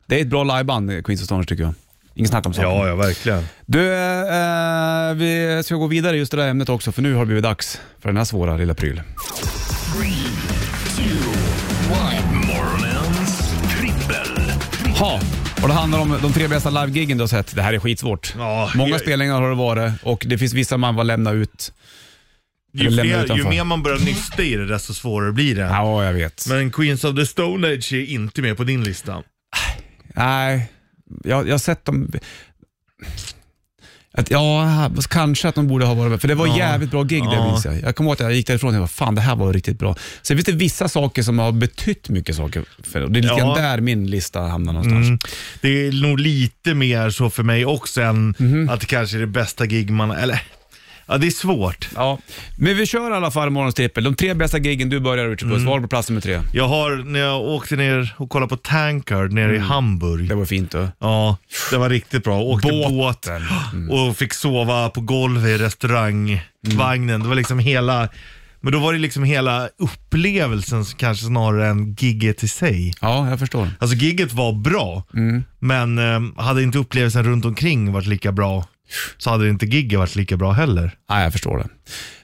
Speaker 2: Det är ett bra liveband, Queens of Stone Age tycker jag. Inget snack om saken.
Speaker 3: Ja, ja, verkligen.
Speaker 2: Du, eh, vi ska gå vidare i just det där ämnet också för nu har det blivit dags för den här svåra lilla pryl.
Speaker 1: Morgonens trippel.
Speaker 2: Ha. Och det handlar om de tre bästa livegiggen du har sett. Det här är skitsvårt.
Speaker 3: Ja,
Speaker 2: Många
Speaker 3: jag-
Speaker 2: spelningar har det varit och det finns vissa man var lämna ut.
Speaker 3: Ju,
Speaker 2: Lämna
Speaker 3: fler, ju
Speaker 2: utanför.
Speaker 3: mer man börjar nysta i det, desto svårare blir det.
Speaker 2: Ja, jag vet.
Speaker 3: Men Queens of the Stone Age är inte med på din lista.
Speaker 2: Nej, jag, jag har sett dem... Att, ja, kanske att de borde ha varit med, för det var jävligt bra gig det
Speaker 3: Ja.
Speaker 2: minns jag. Jag kommer ihåg att jag gick därifrån och jag bara, fan det här var riktigt bra. Sen finns det vissa saker som har betytt mycket saker för och Det är lite
Speaker 3: Ja.
Speaker 2: grann där min lista hamnar någonstans.
Speaker 3: Mm. Det är nog lite mer så för mig också än att det kanske är det bästa gig man... Eller, ja det är svårt.
Speaker 2: Ja. Men vi kör i alla fall morgons trippel. De tre bästa giggen du börjar Richard
Speaker 3: Mm.
Speaker 2: Puss, var på plats nummer tre?
Speaker 3: Jag har, när jag åkte ner och kollade på Tankard nere i Hamburg.
Speaker 2: Det var fint du.
Speaker 3: Ja, det var riktigt bra. Åkte
Speaker 2: Båten.
Speaker 3: båt och fick sova på golvet i restaurangvagnen. Det var liksom hela, men då var det liksom hela upplevelsen som kanske snarare än gigget i sig.
Speaker 2: Ja, jag förstår.
Speaker 3: Alltså gigget var bra, men eh, hade inte upplevelsen runt omkring varit lika bra så hade inte gigget varit lika bra heller.
Speaker 2: Nej, jag förstår det.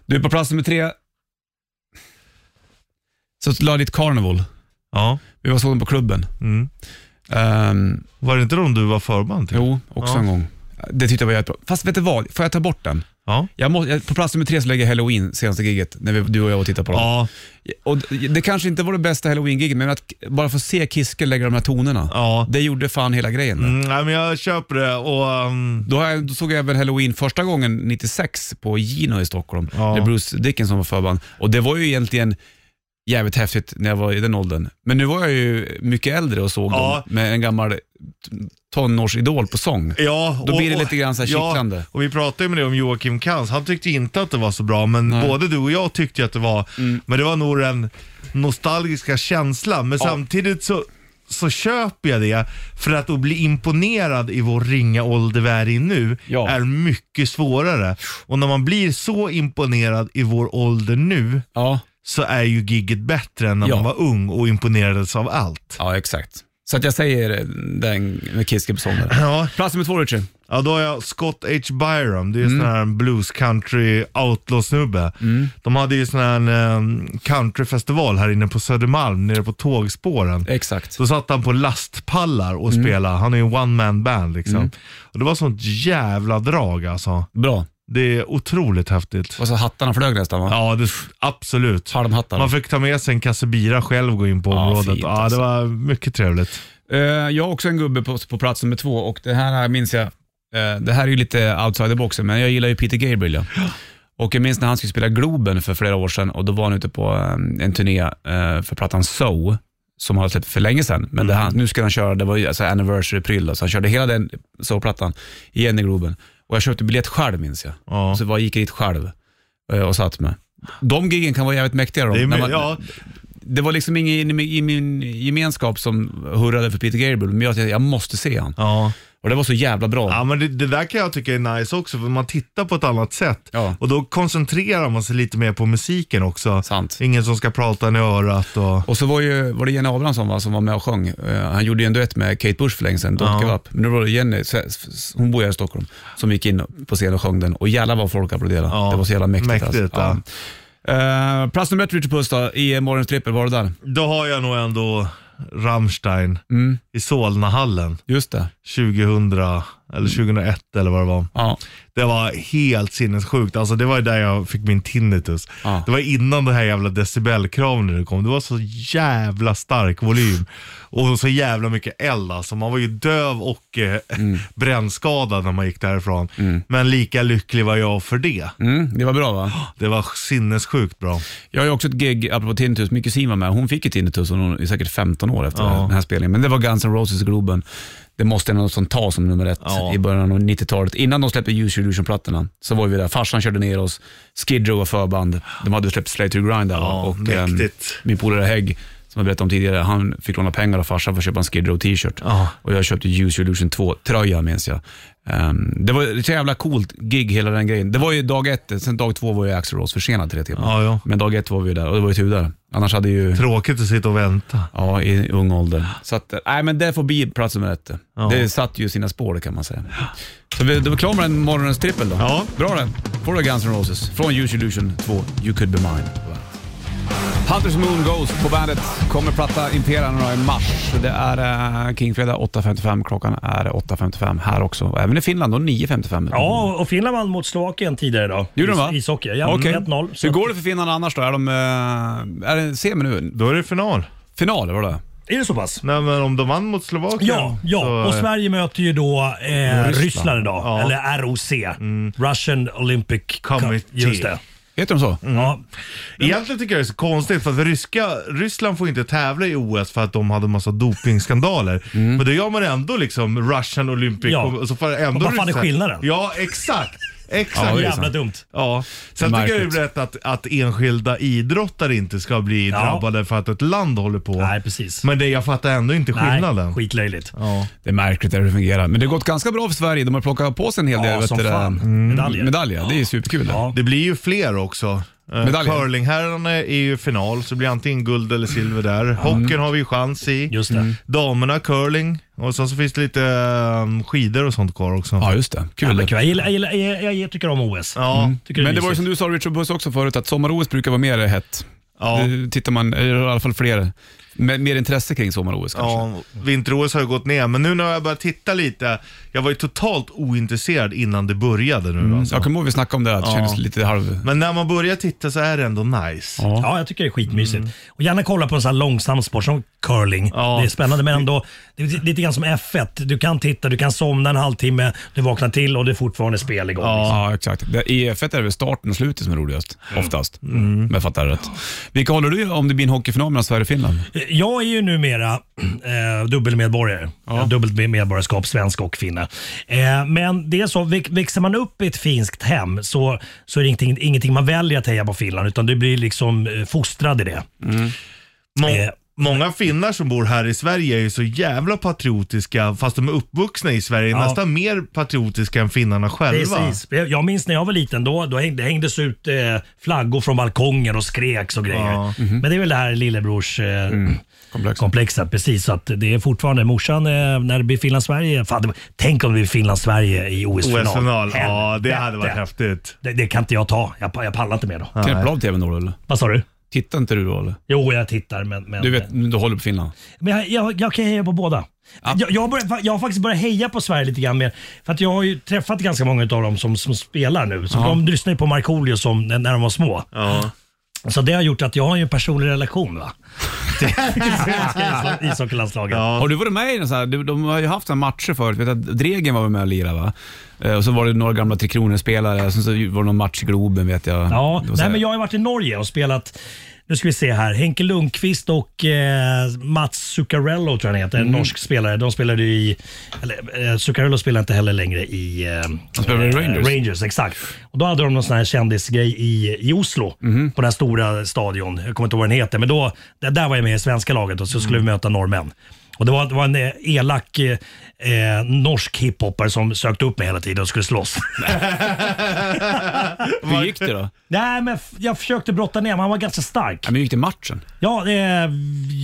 Speaker 2: Du är på plats nummer tre. Så la ditt Carnival.
Speaker 3: Ja.
Speaker 2: Vi var såg dem på klubben.
Speaker 3: Mm.
Speaker 2: Ehm,
Speaker 3: Var det inte de du var förband till?
Speaker 2: Jo, också
Speaker 3: Ja.
Speaker 2: en gång. Det tyckte jag var jättebra. Fast vet du vad, får jag ta bort den?
Speaker 3: Ja.
Speaker 2: Jag må, jag, på plats nummer tre så lägger jag halloween, senaste giget, när vi, du och jag var och tittade på dem.
Speaker 3: Ja,
Speaker 2: Och det, det kanske inte var det bästa halloween-giget, men att bara få se Kiske lägga de här tonerna,
Speaker 3: Ja.
Speaker 2: det gjorde fan hela grejen.
Speaker 3: mm, nej, men jag köper det och ehm,
Speaker 2: Då, har jag, då såg jag även halloween första gången 96 på Gino i Stockholm,
Speaker 3: Ja.
Speaker 2: där Bruce Dickinson var förband. Och det var ju egentligen jävligt häftigt när jag var i den åldern. Men nu var jag ju mycket äldre och såg
Speaker 3: Ja.
Speaker 2: dem med en gammal t- tonårsidol på sång.
Speaker 3: Ja,
Speaker 2: Då blir det lite grann så här kittlande.
Speaker 3: Ja, och vi pratade ju med det om Joakim Kans. Han tyckte inte att det var så bra, men både du och jag tyckte ju att det var.
Speaker 2: Mm.
Speaker 3: Men det var nog den nostalgiska känslan. Men samtidigt så, så köper jag det, för att att bli imponerad i vår ringa ålder vi är i nu
Speaker 2: Ja.
Speaker 3: är mycket svårare. Och när man blir så imponerad i vår ålder nu,
Speaker 2: Ja.
Speaker 3: så är ju gigget bättre än när
Speaker 2: Ja.
Speaker 3: man var ung och imponerades av allt.
Speaker 2: Ja, exakt. Så att jag säger eh, den med Kiske på sången.
Speaker 3: Ja,
Speaker 2: Plats nummer två, Richard.
Speaker 3: Ja, då har jag Scott H. Byram. Det är ju sån här blues country outlaw-snubbe. De hade ju sån här um, countryfestival här inne på Södermalm, nere på tågspåren.
Speaker 2: Exakt.
Speaker 3: Så satt han på lastpallar och spelade. Han är ju en one-man band liksom. Och det var sånt jävla drag alltså.
Speaker 2: Bra.
Speaker 3: Det är otroligt häftigt.
Speaker 2: Och så hattarna flög nästan, va?
Speaker 3: Ja, det, absolut.
Speaker 2: Palmhattar.
Speaker 3: Man fick ta med sig en kasse bira själv och gå in på
Speaker 2: Ja,
Speaker 3: området.
Speaker 2: fint,
Speaker 3: ja, det
Speaker 2: alltså.
Speaker 3: var mycket trevligt.
Speaker 2: Eh, jag har också en gubbe på, på plats nummer två och det här minns jag, eh, det här är ju lite outside the boxen, men jag gillar ju Peter Gabriel. Ja. Och jag minns när han skulle spela Globen för flera år sedan och då var han ute på eh, en turné eh, för plattan So som han har släppt för länge sedan. Men det
Speaker 3: Mm.
Speaker 2: han, nu ska han köra, det var ju alltså anniversary-pryl, då, så han körde hela den So-plattan igen i Globen. Och jag köpte biljett själv minns jag.
Speaker 3: Ja.
Speaker 2: Så var, gick jag dit själv eh, och satt med. De giggen kan vara jävligt mäktiga. De,
Speaker 3: Det är,
Speaker 2: när
Speaker 3: my-
Speaker 2: man-
Speaker 3: ja,
Speaker 2: det var liksom ingen i i min gemenskap som hurrade för Peter Gabriel, men jag tänkte jag måste se han.
Speaker 3: ja.
Speaker 2: Och det var så jävla bra.
Speaker 3: Ja men det, det där kan jag tycka är nice också för man tittar på ett annat sätt
Speaker 2: Ja.
Speaker 3: och då koncentrerar man sig lite mer på musiken också.
Speaker 2: Sant.
Speaker 3: Ingen som ska prata en i örat och...
Speaker 2: Och så var, ju, var det Jenny Abrahamsson va, som var med och sjöng. Eh, han gjorde ju en duett med Kate Bush för länge sedan, Don't
Speaker 3: Ja.
Speaker 2: Give Up. Men nu var det Jenny, s- s- hon bor ju här i Stockholm, som gick in på scen och sjöng den. Och jävlar vad folk applåderade.
Speaker 3: Ja,
Speaker 2: Det var så jävla mäktigt.
Speaker 3: mäktigt,
Speaker 2: alltså. ja. Eh, plats nummer ett, Richard Puss då, i morgons trippel, var det där?
Speaker 3: Då har jag nog ändå Rammstein
Speaker 2: Mm.
Speaker 3: i Solnahallen
Speaker 2: Just det.
Speaker 3: 2000 eller 2001 eller vad det var.
Speaker 2: Ja.
Speaker 3: Det var helt sinnessjukt. Alltså det var ju där jag fick min tinnitus.
Speaker 2: Ja.
Speaker 3: Det var innan det här jävla decibelkraven när det kom. Det var så jävla stark volym. Och så jävla mycket eld alltså. Man var ju döv och eh,
Speaker 7: Mm.
Speaker 3: brännskadad när man gick därifrån. Men lika lycklig var jag för det.
Speaker 2: Mm, det var bra va?
Speaker 3: Det var sinnessjukt bra.
Speaker 2: Jag har ju också ett gig, apropå tinnitus, min kusin var med. Hon fick ju tinnitus och hon är säkert 15 år efter
Speaker 3: Ja.
Speaker 2: den här spelningen. Men det var Guns N' Roses i Globen. det måste någon som ta som nummer ett
Speaker 3: Ja.
Speaker 2: i början av 90-talet. Innan de släppte Use Your Illusion-plattorna så var vi där. Farsan körde ner oss, Skid Row var förband. De hade släppt Slay to Grind där.
Speaker 3: Ja,
Speaker 2: och, ehm,
Speaker 3: mäktigt.
Speaker 2: min polare Hägg, som jag berättade om tidigare, han fick låna pengar av farsan för att köpa en Skid Row t-shirt.
Speaker 3: Ja.
Speaker 2: Och jag köpte Use Your Illusion 2-tröja minns jag. Ehm, det var ett jävla coolt gig hela den grejen. Det var ju dag ett, sen dag två var ju Axl Rose försenad tre timmar.
Speaker 3: Ja, ja.
Speaker 2: Men dag ett var vi ju där och det var ju tur där. Annars hade ju...
Speaker 3: Tråkigt att sitta och vänta.
Speaker 2: Ja, i ung ålder. Så att, nej men det får bli plats nummer ett.
Speaker 3: Ja.
Speaker 2: Det satt ju sina spår det kan man säga. Så vi, då är vi klara med den morgonens trippel då.
Speaker 3: Ja.
Speaker 2: Bra den. Får du Guns N' Roses från Use Your Illusion 2, You Could Be Mine. Hunters Moon Ghost på bandet. Kommer platta Impera nu då i mars. Det är uh, Kingfredag 8.55. Klockan är 8.55 här också. Även i Finland då 9.55.
Speaker 7: Ja, och Finland vann mot Slovakien tidigare idag.
Speaker 2: Gjorde de va?
Speaker 7: I, ishockey. Ja,
Speaker 2: Okej.
Speaker 7: 1-0. Så
Speaker 2: Hur går det för finnarna annars då? Är de... eh, är det semi nu?
Speaker 3: Då är det final.
Speaker 2: Final var det?
Speaker 7: Är det så pass?
Speaker 3: Nej, men om de vann mot Slovakien.
Speaker 7: Ja, ja.
Speaker 3: så,
Speaker 7: och
Speaker 3: eh,
Speaker 7: Sverige möter ju då eh,
Speaker 2: Ryssland. Mm.
Speaker 7: Ryssland. idag.
Speaker 3: Ja.
Speaker 7: Eller ROC. Russian Olympic
Speaker 3: Committee.
Speaker 7: Just det.
Speaker 2: Heter de så?
Speaker 7: Ja. Mm.
Speaker 3: Egentligen tycker jag det är så konstigt för att ryska, Ryssland får inte tävla i OS för att de hade massa dopingskandaler. Men då gör man ändå liksom Russian Olympic
Speaker 7: Mm. Ja.
Speaker 3: och så får ändå
Speaker 7: Vad fan är
Speaker 3: ryssar-
Speaker 7: skillnaden?
Speaker 3: Ja, exakt.
Speaker 2: Ja,
Speaker 3: Exakt.
Speaker 2: det är
Speaker 7: Jävla
Speaker 2: sant.
Speaker 7: dumt.
Speaker 3: Ja, sen tycker jag det
Speaker 2: Märkligt.
Speaker 3: är rätt att, att enskilda idrottare inte ska bli
Speaker 7: Ja.
Speaker 3: drabbade för att ett land håller på.
Speaker 7: Nej, precis.
Speaker 3: Men det, jag fattar ändå inte skillnaden.
Speaker 7: Nej, skitlöjligt.
Speaker 3: Ja.
Speaker 2: Det är märkligt hur det fungerar. Men det har gått ganska bra för Sverige. De har plockat på sig en hel del
Speaker 7: Ja,
Speaker 2: vet
Speaker 7: som
Speaker 2: du det,
Speaker 7: fan.
Speaker 2: mm,
Speaker 7: Medaljer.
Speaker 2: medaljer. Det är ju superkul. det.
Speaker 7: Ja.
Speaker 3: Det blir ju fler också. Eh,
Speaker 2: Medaljer.
Speaker 3: Curlingherrarna är ju final, så det blir antingen guld eller silver där.
Speaker 2: Mm.
Speaker 3: Hockeyn har vi ju chans i. Mm.
Speaker 7: Just det.
Speaker 3: Damerna, curling. Och sen så finns det lite eh, skidor och sånt kvar också.
Speaker 2: Ja, just det. Kul.
Speaker 7: Men
Speaker 2: det.
Speaker 7: kul. Jag, gillar, jag, gillar, jag, jag tycker om OS.
Speaker 3: Ja.
Speaker 7: Tycker
Speaker 2: Men det
Speaker 7: är
Speaker 2: var ju som
Speaker 7: mysigt.
Speaker 2: du sa Richard Buss också förut, att sommar-OS brukar vara mer hett.
Speaker 3: Ja.
Speaker 2: Det tittar man, eller i alla fall fler, med, mer intresse kring sommar-OS kanske.
Speaker 3: Ja, vinter-OS har ju gått ner, men nu när jag börjat titta lite. Jag var ju totalt ointresserad innan det började nu alltså.
Speaker 2: Jag kommer ihåg vi snackade om det, att det
Speaker 3: Ja.
Speaker 2: kändes lite halv...
Speaker 3: Men när man börjar titta så är det ändå nice.
Speaker 2: Ja.
Speaker 7: Ja, jag tycker det är skitmysigt. Och gärna kolla på en sån här långsam sport som curling.
Speaker 3: Ja.
Speaker 7: Det är spännande men ändå, det är lite grann som F1. Du kan titta, du kan somna en halvtimme, du vaknar till och det är fortfarande spel igång. liksom.
Speaker 2: Ja, exakt. Det- I F1 är det väl starten och slutet som är roligast, oftast. Mm. Om jag fattar rätt. Vilka håller du om det blir en hockeyfinal mellan Sverige och Finland?
Speaker 7: Jag är ju numera eh, dubbelmedborgare. Ja. Dubbelt med- medborgarskap, svensk och finne. Eh, men det är så, väx- växer man upp i ett finskt hem så, så är det ingenting, ingenting man väljer att heja på Finland utan du blir liksom eh, fostrad i det.
Speaker 3: Må-
Speaker 7: Eh.
Speaker 3: Många finnar som bor här i Sverige är ju så jävla patriotiska, fast de är uppvuxna i Sverige,
Speaker 7: Ja.
Speaker 3: nästan mer patriotiska än finnarna själva.
Speaker 7: Precis. Jag jag minns när jag var liten, då, då häng- det hängdes ut eh, flaggor från balkonger och skreks och grejer. Mhm.
Speaker 3: Ja. Mm.
Speaker 7: Men det är väl det här lillebrors... Eh,
Speaker 2: Komplex.
Speaker 7: komplexet, precis. Så att det är fortfarande morsan eh, när det blir Finland-Sverige. Fan, det, tänk om det blir Finland-Sverige i OS-final.
Speaker 3: OS-final, ja det hade varit
Speaker 7: Helvete.
Speaker 3: häftigt.
Speaker 7: Det, det kan inte jag ta. Jag, pa- jag pallar inte med då.
Speaker 2: Knäpper du av tvn då eller?
Speaker 7: Vad sa du?
Speaker 2: Tittar inte du då eller?
Speaker 7: Jo, jag tittar men... men
Speaker 2: Du vet, du håller på Finland?
Speaker 7: Men jag, jag, jag kan heja på båda. Jag, jag, har börjat- jag har faktiskt börjat heja på Sverige lite grann mer. För att jag har ju träffat ganska många av dem som, som spelar nu. Så De lyssnar ju på Markoolio som när när de var små.
Speaker 3: Ja.
Speaker 7: Så det har gjort att jag har ju en personlig relation va. Till svenska isho- ishockeylandslaget.
Speaker 2: Har du varit med i någon sån här, de, de har ju haft såna matcher förut, vet att Dregen var med och lirade va? Eh, och så var det några gamla Tre Kronor-spelare, sen så var det någon match i Globen vet jag.
Speaker 7: Ja,
Speaker 2: Det var så
Speaker 7: nej,
Speaker 2: här-
Speaker 7: men jag har ju varit i Norge och spelat nu ska vi se här. Henke Lundqvist och eh, Mats Zuccarello tror jag han heter,
Speaker 2: Mm.
Speaker 7: en norsk spelare. De spelade ju i... Eller, eh, Zuccarello spelar inte heller längre i... Eh,
Speaker 2: Han spelade i
Speaker 7: eh,
Speaker 2: Rangers.
Speaker 7: Rangers, exakt. Och då hade de någon sån här kändisgrej i, i Oslo,
Speaker 2: Mhm.
Speaker 7: på den här stora stadion. Jag kommer inte ihåg vad den heter, men då, där, där var jag med i svenska laget och så
Speaker 2: Mm.
Speaker 7: skulle vi möta norrmän. Och det var, det var en eh, elak eh, eh, norsk hiphoppare som sökte upp mig hela tiden och skulle slåss.
Speaker 2: Hur gick det då?
Speaker 7: Nej, men f- jag försökte brotta ner men han var ganska stark.
Speaker 2: Ja, men hur gick det i matchen?
Speaker 7: Ja, eh,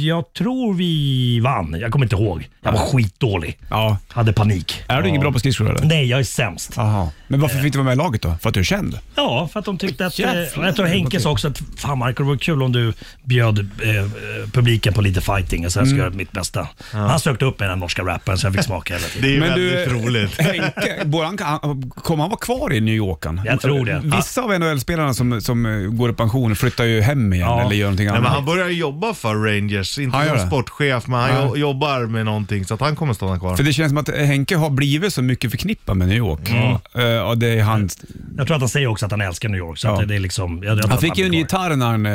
Speaker 7: jag tror vi vann. Jag kommer inte ihåg. Jag var skitdålig.
Speaker 2: Ja.
Speaker 7: Hade panik.
Speaker 2: Är du ingen bra på skridskor eller?
Speaker 7: Nej, jag är sämst.
Speaker 2: Aha. Men varför fick du vara med i laget då? För att du är känd?
Speaker 7: Ja, för att de tyckte att... eh,
Speaker 2: Jävlar.
Speaker 7: Jag tror Henke sa också att fan Marco, det vore kul om du bjöd eh, eh, publiken på lite fighting och sen ska
Speaker 2: Mm.
Speaker 7: jag göra mitt bästa. Han sökte upp mig den här norska rapparen så jag fick smaka hela
Speaker 3: Det
Speaker 7: tiden.
Speaker 3: är ju
Speaker 2: Men
Speaker 3: väldigt
Speaker 2: du-
Speaker 3: roligt.
Speaker 2: Henke, bor han, han- kommer han vara kvar i New York? han?
Speaker 7: Jag tror det.
Speaker 2: Vissa av NHL-spelarna som, som eh, går i pension flyttar ju hem igen
Speaker 7: Ja.
Speaker 2: eller gör någonting
Speaker 3: Nej,
Speaker 2: annat.
Speaker 3: men han börjar ju jobba för Rangers, inte
Speaker 2: Han gör
Speaker 3: som
Speaker 2: det?
Speaker 3: sportchef, men han
Speaker 2: Ja.
Speaker 3: jo- jobbar med någonting så att han kommer stanna kvar.
Speaker 2: För det känns som att Henke har blivit så mycket förknippad med New York. Eh, och det är hans
Speaker 7: Jag tror att han säger också att han älskar New York. Så
Speaker 2: Ja.
Speaker 7: att det, det är liksom, jag, jag tror
Speaker 2: Han
Speaker 7: att
Speaker 2: fick ju
Speaker 7: blir
Speaker 2: en
Speaker 7: kvar.
Speaker 2: gitarr när han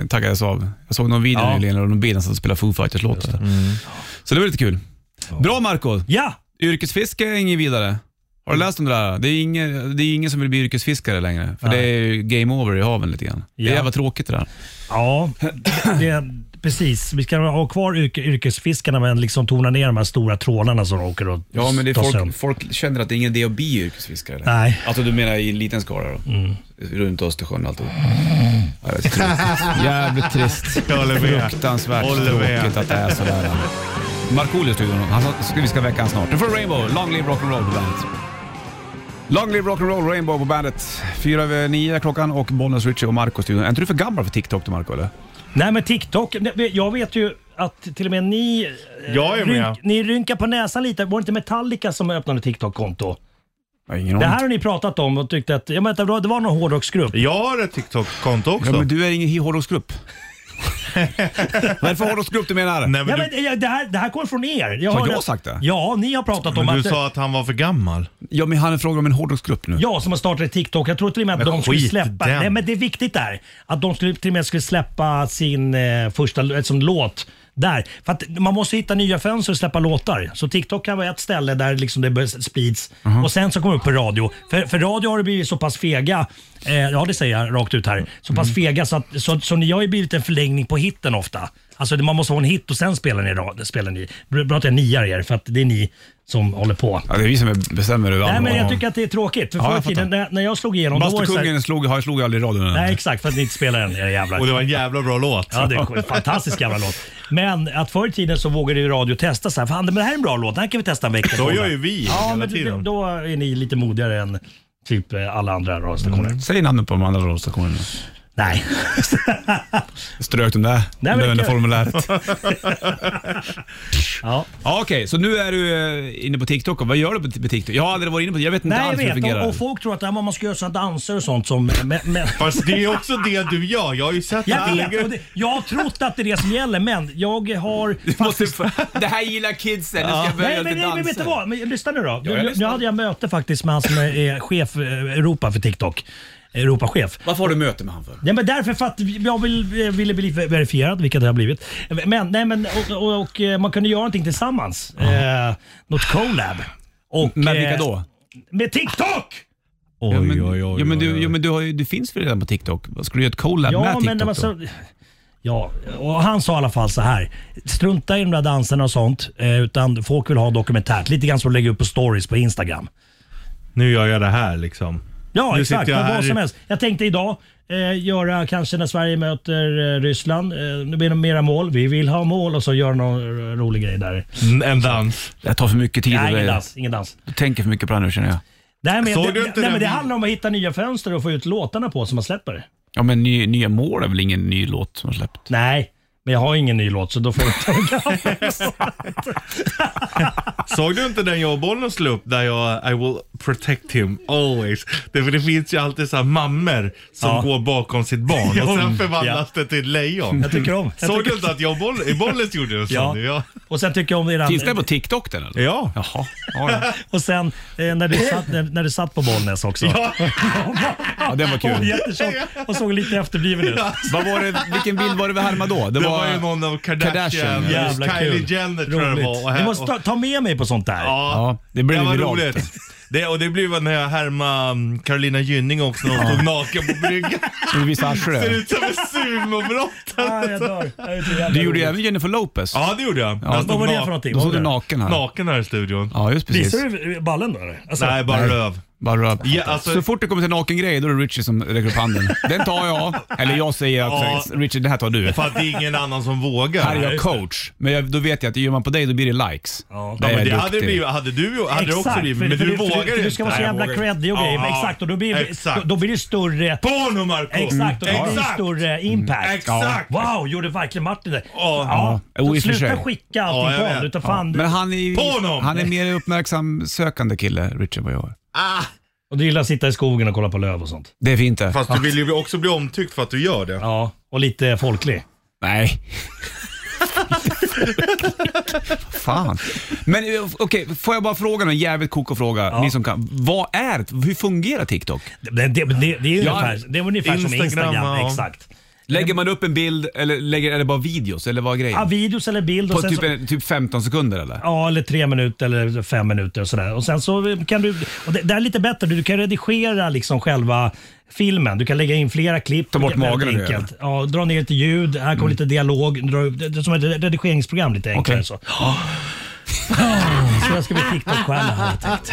Speaker 2: eh, taggades av. Jag såg någon video
Speaker 7: Ja.
Speaker 2: Mm. nyligen, eller någon bild när han satt och spelade Foo Fighters-låtar. Så det var lite kul. Bra Marco
Speaker 7: Ja,
Speaker 2: Yrkesfiske är inget vidare. Har du läst om det där? Det är ingen, det är ingen som vill bli yrkesfiskare längre. För det är ju game over i haven lite grann. Det
Speaker 7: Ja.
Speaker 2: är jävla tråkigt det där.
Speaker 7: Ja, det, precis. Vi ska ha kvar yrke, yrkesfiskarna men liksom tona ner de här stora trålarna som de åker och
Speaker 2: Ja, men det är
Speaker 7: tar sig an.
Speaker 2: folk, folk känner att det är ingen idé att bli yrkesfiskare. längre.
Speaker 7: Nej.
Speaker 2: Alltså du menar i liten skala då? Runt Östersjön och alltihop. Ja, det är trist. Mm. Jävligt trist.
Speaker 3: Jag håller med.
Speaker 2: Fruktansvärt
Speaker 3: Håller med.
Speaker 2: tråkigt att det är sådär. Markoolio i studion. Han sa, vi ska väcka han snart. Nu får du Rainbow, Long Live Rock'n'Roll på bandet. Long Live Rock'n'Roll, Rainbow på bandet. Fyra över nio klockan och Bollnäs, Richie och Marco i studion. Är inte du för gammal för TikTok du Marco eller?
Speaker 7: Nej men TikTok, nej, jag vet ju att till och med ni... eh,
Speaker 3: Jag är med.
Speaker 7: ni rynkar på näsan lite. Var det inte Metallica som öppnade TikTok-konto?
Speaker 2: Jag har ingen
Speaker 7: Det
Speaker 2: aning.
Speaker 7: här har ni pratat om och tyckte att ja, men, det var det var någon hårdrocksgrupp.
Speaker 3: Jag har ett TikTok-konto också.
Speaker 2: Ja, men du är ingen hårdrocksgrupp. Vad är det för hårdrocksgrupp du menar?
Speaker 3: Nej,
Speaker 7: Ja,
Speaker 3: men du,
Speaker 7: men, ja, det, här, det här kommer från er. Jag
Speaker 2: Har
Speaker 7: hörde-
Speaker 2: jag sagt det?
Speaker 7: Ja, ni har pratat om
Speaker 3: men du
Speaker 7: att...
Speaker 3: sa att han var för gammal.
Speaker 2: Ja, men han frågar om en hårdrocksgrupp nu.
Speaker 7: Ja, som har startat TikTok. Jag tror till och med att
Speaker 3: Men
Speaker 7: de skulle
Speaker 3: skit i
Speaker 7: släppa...
Speaker 3: den.
Speaker 7: Nej, men det är viktigt där. Att de skulle, till och med skulle släppa sin eh, första l- som låt där. För att man måste hitta nya fönster och släppa låtar. Så TikTok kan vara ett ställe där liksom det bör- sprids.
Speaker 3: Uh-huh.
Speaker 7: Och sen så kommer det upp på radio. För, för radio har det blivit så pass fega, eh, ja det säger jag rakt ut här, så
Speaker 3: Mm.
Speaker 7: pass fega så, att, så, så ni har ju blivit en förlängning på hitten ofta. Alltså det- man måste ha en hit och sen spelar ni. ra- Spelar ni. Bra att jag niar er för att det är ni som håller på.
Speaker 2: Ja, det är vi som bestämmer över
Speaker 7: Nej, men jag
Speaker 2: vad-
Speaker 7: tycker att det är tråkigt. För
Speaker 2: Ja,
Speaker 7: förr i
Speaker 2: jag fattar.
Speaker 7: tiden när, när jag slog igenom... då var det så här-
Speaker 2: Bastukungen slog, har- slog aldrig i radion.
Speaker 7: Nej, exakt. För att ni inte spelar den, era
Speaker 3: Och det
Speaker 7: jävlar.
Speaker 3: var en jävla bra låt.
Speaker 7: Ja, det är en fantastisk jävla låt. Men att förr i tiden så vågade ju radio testa så här. Fan, men det här är en bra låt. Den här kan vi testa en vecka.
Speaker 3: Så gör ju vi
Speaker 7: Ja,
Speaker 3: hela
Speaker 7: men då,
Speaker 3: tiden.
Speaker 7: då är ni lite modigare än typ eh, alla andra radiostationer.
Speaker 3: Mm.
Speaker 2: Säg namnet på de andra radiostationerna.
Speaker 7: Nej.
Speaker 2: Strök de där
Speaker 7: men det kan-
Speaker 2: löneformuläret.
Speaker 7: ja.
Speaker 2: ja, Okej, så nu är du eh, inne på TikTok. och Vad gör du på på TikTok? Jag har aldrig varit inne på det. Jag vet inte
Speaker 7: Nej,
Speaker 2: alls hur det
Speaker 7: jag vet.
Speaker 2: fungerar.
Speaker 7: Och, och folk tror att ja, men man ska göra sådana danser och sånt som... Men, men,
Speaker 3: Fast det är också det du gör. Jag har ju sett att du
Speaker 7: jag vet.
Speaker 3: lägger
Speaker 7: Och det, jag har trott att det är det som gäller, men jag har...
Speaker 2: Du måste, det här gillar kidsen. Nu ska jag börja
Speaker 7: Nej, men,
Speaker 2: lite
Speaker 7: nej, men vet du
Speaker 2: danser.
Speaker 7: vad? Men, lyssna nu då.
Speaker 2: jag
Speaker 7: Nu, nu
Speaker 2: lyssnar.
Speaker 7: hade jag möte faktiskt med han som är är chef eh, Europa för TikTok. Europachef.
Speaker 2: Varför har du möte med honom för?
Speaker 7: Nej, men därför för att jag vill, eh, ville bli ver- verifierad, vilket jag har blivit. Men, nej, men, och, och, och eh, man kunde göra någonting tillsammans. Eh, något collab. Och,
Speaker 2: Med vilka
Speaker 7: eh,
Speaker 2: då?
Speaker 7: Med TikTok!
Speaker 2: Ja, men, ja, men, du, ja, men du, har, ju- du finns väl redan på TikTok? Vad Ska du göra ett collab med
Speaker 7: Ja,
Speaker 2: TikTok
Speaker 7: men alltså- det var
Speaker 2: då?
Speaker 7: så... Ja, och han sa i alla fall så här. Strunta i de där danserna och sånt. eh, Utan folk vill ha dokumentärt. Lite grann som att lägga upp på stories på Instagram.
Speaker 3: Nu gör jag det här liksom.
Speaker 7: Ja,
Speaker 3: Nu
Speaker 7: exakt.
Speaker 3: sitter jag
Speaker 7: men
Speaker 3: här
Speaker 7: vad
Speaker 3: i-
Speaker 7: som helst. Jag tänkte idag eh, göra kanske när Sverige möter eh, Ryssland. Eh, nu blir det mera mål. Vi vill ha mål och så göra någon r- rolig grej där.
Speaker 3: En dans.
Speaker 2: Det tar för mycket tid.
Speaker 7: Nej, alltså-
Speaker 2: och
Speaker 7: ingen
Speaker 2: det-
Speaker 7: dans. Ingen dans.
Speaker 2: Du tänker för mycket på det här nu känner jag.
Speaker 7: Nej, men,
Speaker 3: Såg
Speaker 7: det,
Speaker 3: du inte
Speaker 7: nej,
Speaker 3: den
Speaker 7: men det
Speaker 3: videon?
Speaker 7: handlar om att hitta nya fönster och få ut låtarna på som man släpper.
Speaker 2: Ja, men ny, Nya mål är väl ingen ny låt som har släppt?
Speaker 7: Nej, men jag har ingen ny låt så då får jag tänka.
Speaker 3: Såg du inte den jag och Bollnäs la upp där jag I will protect him always? Det, för det finns ju alltid så här mammor som
Speaker 7: Ja.
Speaker 3: går bakom sitt barn och sen förvandlas det till ett lejon.
Speaker 7: Jag tycker om. Jag
Speaker 3: Såg
Speaker 7: tycker-
Speaker 3: du inte att jag och Boll- Bollnäs gjorde en sån?
Speaker 7: Ja.
Speaker 3: Ja.
Speaker 7: Och sen tycker jag om eran...
Speaker 2: Finns det på TikTok den eller?
Speaker 3: Ja.
Speaker 2: Jaha. Ja, ja.
Speaker 7: Och sen eh, när, du satt, när, när du satt på Bollnäs också.
Speaker 2: ja, den var
Speaker 7: Och
Speaker 2: kul.
Speaker 7: jättetjock och såg lite efterbliven ut.
Speaker 2: Vad var det, vilken bild var det vi härmade då?
Speaker 3: Det var ju någon av Kardashian,
Speaker 2: Kardashian,
Speaker 7: Jävla
Speaker 3: Kylie
Speaker 7: kul.
Speaker 3: Jenner tror jag det var. Och
Speaker 7: Du
Speaker 3: här-
Speaker 7: måste ta, ta med mig på sånt där.
Speaker 2: Ja, det blev
Speaker 3: var
Speaker 2: viralt.
Speaker 3: roligt. Det, och det blev väl när jag härmade mm, Carolina Gynning också när hon stod naken på bryggan.
Speaker 2: Du visade
Speaker 3: Ser
Speaker 2: arslet.
Speaker 3: ut som en sumobrottare.
Speaker 7: Ah, jag dör. Det är så jävla
Speaker 2: Du gjorde ju
Speaker 7: roligt.
Speaker 2: även Jennifer Lopez.
Speaker 3: Ja, det gjorde jag. När jag
Speaker 7: Vad
Speaker 3: stod
Speaker 7: var det
Speaker 3: na-
Speaker 7: för någonting?
Speaker 2: Då
Speaker 7: Vad
Speaker 2: såg
Speaker 7: var
Speaker 2: du
Speaker 7: det?
Speaker 2: naken här.
Speaker 3: Naken här i studion.
Speaker 2: Ja, just precis.
Speaker 7: Visar du ballen då eller? Alltså,
Speaker 3: Nej, bara
Speaker 2: Nej.
Speaker 3: röv.
Speaker 2: Bara,
Speaker 3: Ja, alltså-
Speaker 2: Så fort det kommer till nakengrejer, då är det Richie som räcker upp handen. Den tar jag. Eller jag säger också, Richie den här tar du.
Speaker 3: För att det är ingen annan som vågar.
Speaker 2: Här är jag coach, men jag, då vet jag att gör man på dig då blir det likes.
Speaker 7: Ja.
Speaker 2: Där
Speaker 3: Ja,
Speaker 2: är
Speaker 3: men det
Speaker 2: jag
Speaker 3: hade, det
Speaker 2: duktig.
Speaker 3: blivit, hade du hade det också
Speaker 7: Exakt,
Speaker 3: blivit,
Speaker 7: för-
Speaker 3: men
Speaker 7: för
Speaker 3: du
Speaker 7: för
Speaker 3: vågar
Speaker 7: för
Speaker 3: inte.
Speaker 7: Du ska vara så
Speaker 3: Nej, jag
Speaker 7: jävla
Speaker 3: vågar
Speaker 7: creddig och grejer.
Speaker 3: Ja,
Speaker 7: Exakt, och då blir,
Speaker 3: Exakt.
Speaker 7: Då, då blir det större...
Speaker 3: Porno Marco!
Speaker 7: Exakt, och då blir det
Speaker 3: Exakt! Mm,
Speaker 7: större impact.
Speaker 3: Exakt!
Speaker 7: Ja. Wow, gjorde verkligen Martin det?
Speaker 3: Ja.
Speaker 2: Jo, i och för
Speaker 7: sluta
Speaker 2: sig.
Speaker 7: skicka allting
Speaker 3: Ja, jag
Speaker 7: på honom.
Speaker 3: vet.
Speaker 7: Utan fan,
Speaker 2: Men han är ju
Speaker 3: På honom!
Speaker 2: han är mer uppmärksam sökande kille, Richie, vad jag är.
Speaker 3: Ah,
Speaker 7: Och du gillar att sitta i skogen och kolla på löv och sånt?
Speaker 2: Det är fint det.
Speaker 3: fast du vill ju också bli omtyckt för att du gör det.
Speaker 7: Ja. Och lite folklig?
Speaker 2: Nej. Fan. Men eh, okej, får jag bara fråga en jävligt koko fråga, ni som kan. Vad är, hur fungerar TikTok?
Speaker 7: Det, det, det, det är ungefär, det är ungefär som
Speaker 3: Instagram,
Speaker 7: Instagram.
Speaker 3: ja.
Speaker 7: Exakt.
Speaker 2: Lägger man upp en bild eller lägger, är det bara videos eller vad är grejen?
Speaker 7: Ja, videos eller bild.
Speaker 2: På
Speaker 7: Och sen
Speaker 2: typ,
Speaker 7: så,
Speaker 2: en, typ 15 sekunder eller?
Speaker 7: ja, eller tre minuter eller fem minuter och sådär. Och sen så kan du, och det, det här är lite bättre, du kan redigera liksom själva filmen. Du kan lägga in flera klipp.
Speaker 2: Ta bort
Speaker 7: väldigt
Speaker 2: magen och det,
Speaker 7: enkelt. Ja, dra ner lite ljud, här kommer lite dialog. Dra, det, det är som ett redigeringsprogram lite enklare.
Speaker 2: Okej.
Speaker 7: Så. så jag ska bli TikTok-stjärna har jag tänkt.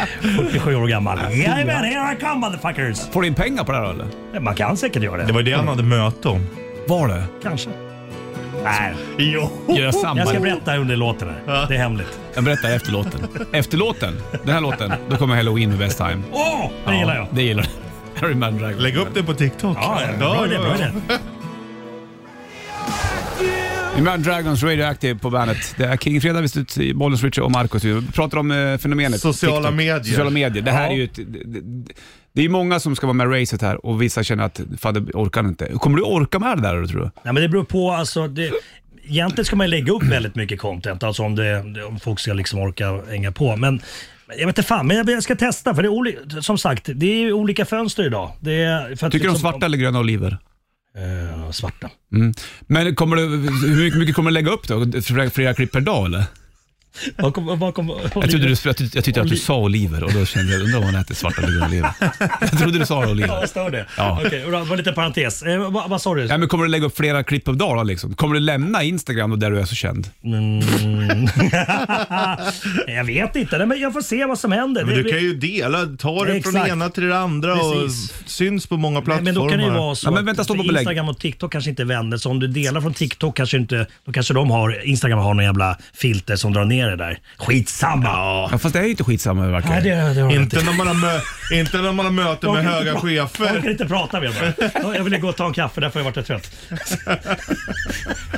Speaker 7: 47 år gammal. Jajamän, here I come motherfuckers!
Speaker 2: Får du in pengar på det här eller?
Speaker 7: Man kan säkert göra det.
Speaker 3: Det var det han hade möte om.
Speaker 2: Var det?
Speaker 7: Kanske. Nej.
Speaker 3: Jo.
Speaker 2: Gör jag samma?
Speaker 7: Jag ska berätta hur det låter. Här. Det är hemligt.
Speaker 2: Jag berättar efter låten. Efter låten, den här låten, då kommer Halloween med Best Time.
Speaker 7: Åh! det gillar jag.
Speaker 2: Det gillar du. Harry Mandrag.
Speaker 3: Lägg upp det på TikTok.
Speaker 7: Ja, ja, bra idé. Bra idé.
Speaker 2: Imran Dragons Radioactive på bandet. Det är King Fredag, vi sitter Bollens Richie och Marcus. Vi pratar om eh, fenomenet
Speaker 3: Sociala medier.
Speaker 2: Sociala medier. Det här
Speaker 7: Ja.
Speaker 2: är ju ett, det- det, det är många som ska vara med i racet här och vissa känner att fan, det orkar inte. Kommer du orka med det där tror du?
Speaker 7: Nej, men det beror på. Alltså, det, egentligen ska man ju lägga upp väldigt mycket content, alltså om, det, om folk ska liksom orka hänga på. Men jag vet inte fan, men jag, jag ska testa. För det är oli, som sagt, det är ju olika fönster idag. Det är, för att
Speaker 2: Tycker du om
Speaker 7: liksom-
Speaker 2: svarta eller gröna oliver?
Speaker 7: Eh, svarta.
Speaker 2: Men kommer du, hur mycket- mycket kommer du lägga upp då? Flera, flera klipp per dag eller?
Speaker 7: Bakom, bakom,
Speaker 2: Jag, trodde du, jag, tyckte- jag tyckte att du
Speaker 7: Oli-
Speaker 2: sa oliver och då kände jag, undrar om han äter svarta eller gröna oliver. Jag trodde du sa
Speaker 7: Ja,
Speaker 2: oliver.
Speaker 7: jag stör det.
Speaker 2: Ja.
Speaker 7: Okej, och det var lite parentes. Eh, vad, vad sa du?
Speaker 2: Ja, men kommer du lägga upp flera klipp per dag då, liksom? Kommer du lämna Instagram och där du är så känd?
Speaker 7: jag vet inte, Mm. Nej, men jag får se vad som händer.
Speaker 3: Men
Speaker 7: Det-
Speaker 3: du kan ju dela, ta det från
Speaker 7: Exakt.
Speaker 3: ena till det andra och
Speaker 7: Precis.
Speaker 3: syns på många
Speaker 7: Nej,
Speaker 3: plattformar.
Speaker 7: Men då kan det ju vara så
Speaker 2: Ja, men
Speaker 7: att-
Speaker 2: vänta, stå
Speaker 7: för
Speaker 2: på belägg.
Speaker 7: Instagram och TikTok kanske inte är vänner, så om du delar från TikTok kanske inte, då kanske de har, Instagram har någon jävla filter som drar ner det där. Skitsamma!
Speaker 2: Ja, fast det är ju inte skitsamma verkar
Speaker 7: Nej, det,
Speaker 2: det.
Speaker 7: det har
Speaker 3: Inte när man har, mö inte när man har möte med höga
Speaker 7: Jag kan
Speaker 3: chefer.
Speaker 7: inte prata med mig. Jag ville gå och ta en kaffe, därför har jag varit trött.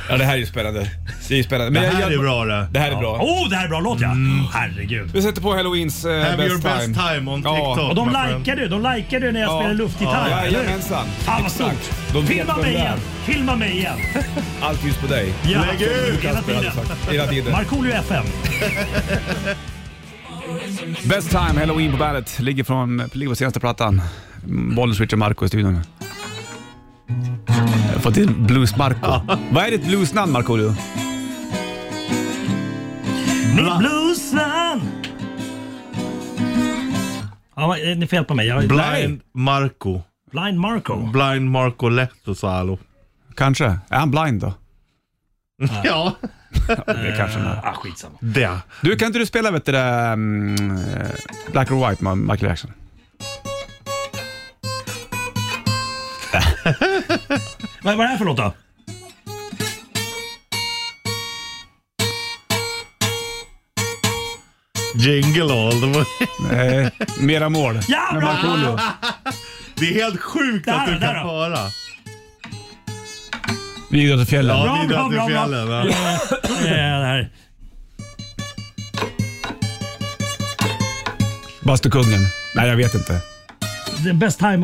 Speaker 2: Ja, det här är ju spännande. Det är ju spännande.
Speaker 3: Det
Speaker 2: Men
Speaker 3: här
Speaker 2: jag, jag,
Speaker 3: är bra det.
Speaker 2: Det här är bra.
Speaker 7: Åh, oh, det här är bra låt ja!
Speaker 2: Mm.
Speaker 7: Herregud.
Speaker 2: Vi sätter på Halloweens eh,
Speaker 3: Have
Speaker 2: best,
Speaker 3: your best time on TikTok.
Speaker 7: Och de
Speaker 3: my friend.
Speaker 7: likade ju, de likade ju när jag
Speaker 2: Ja.
Speaker 7: spelade luftgitarr.
Speaker 2: Ja,
Speaker 7: eller hur?
Speaker 2: jajamensan.
Speaker 7: Fan vad
Speaker 2: Exakt.
Speaker 7: stort!
Speaker 2: De vet
Speaker 7: Filma
Speaker 2: vem
Speaker 7: mig
Speaker 2: det är.
Speaker 7: igen! Filma mig igen!
Speaker 2: Allt ljus på dig.
Speaker 7: Ja.
Speaker 3: Lägg ut!
Speaker 7: Hela
Speaker 2: Kasper hade
Speaker 7: tiden.
Speaker 2: sagt. Hela tiden.
Speaker 7: Markoolio FM.
Speaker 2: Best time, Halloween på bandet. Ligger, från, ligger på senaste plattan. Bollen switchar Marco i studion. Jag har fått in Blues Marco. Vad är ditt bluesnamn Marco du?
Speaker 7: Min bluesman! Ja, eh, ni får hjälpa mig. Jag,
Speaker 3: Blind Marco.
Speaker 7: Blind Marco.
Speaker 3: Blind Marco Lehtosalo.
Speaker 2: Kanske. Är han blind då?
Speaker 3: Ja,
Speaker 2: Det kanske han är.
Speaker 7: Ah, skitsamma.
Speaker 3: det.
Speaker 2: Du, kan inte du spela vet du, det där, mm, eh, Black or White med Michael Jackson?
Speaker 7: Vad, vad är det här för låt då?
Speaker 3: Jingle all the way.
Speaker 2: Nej, Eh, mera mål.
Speaker 7: Ja,
Speaker 2: Med
Speaker 7: bra!
Speaker 2: Markoolio.
Speaker 3: Det är helt sjukt att
Speaker 7: Där,
Speaker 3: du
Speaker 7: där
Speaker 3: kan
Speaker 7: då.
Speaker 3: höra.
Speaker 2: Vi gick till fjällen.
Speaker 3: Ja,
Speaker 7: Bra,
Speaker 3: vi
Speaker 7: bra,
Speaker 3: drack i
Speaker 7: bra, bra.
Speaker 3: fjällen, va?
Speaker 7: Eh, det här.
Speaker 2: Bastukungen. Nej, jag vet inte.
Speaker 7: The best time eh,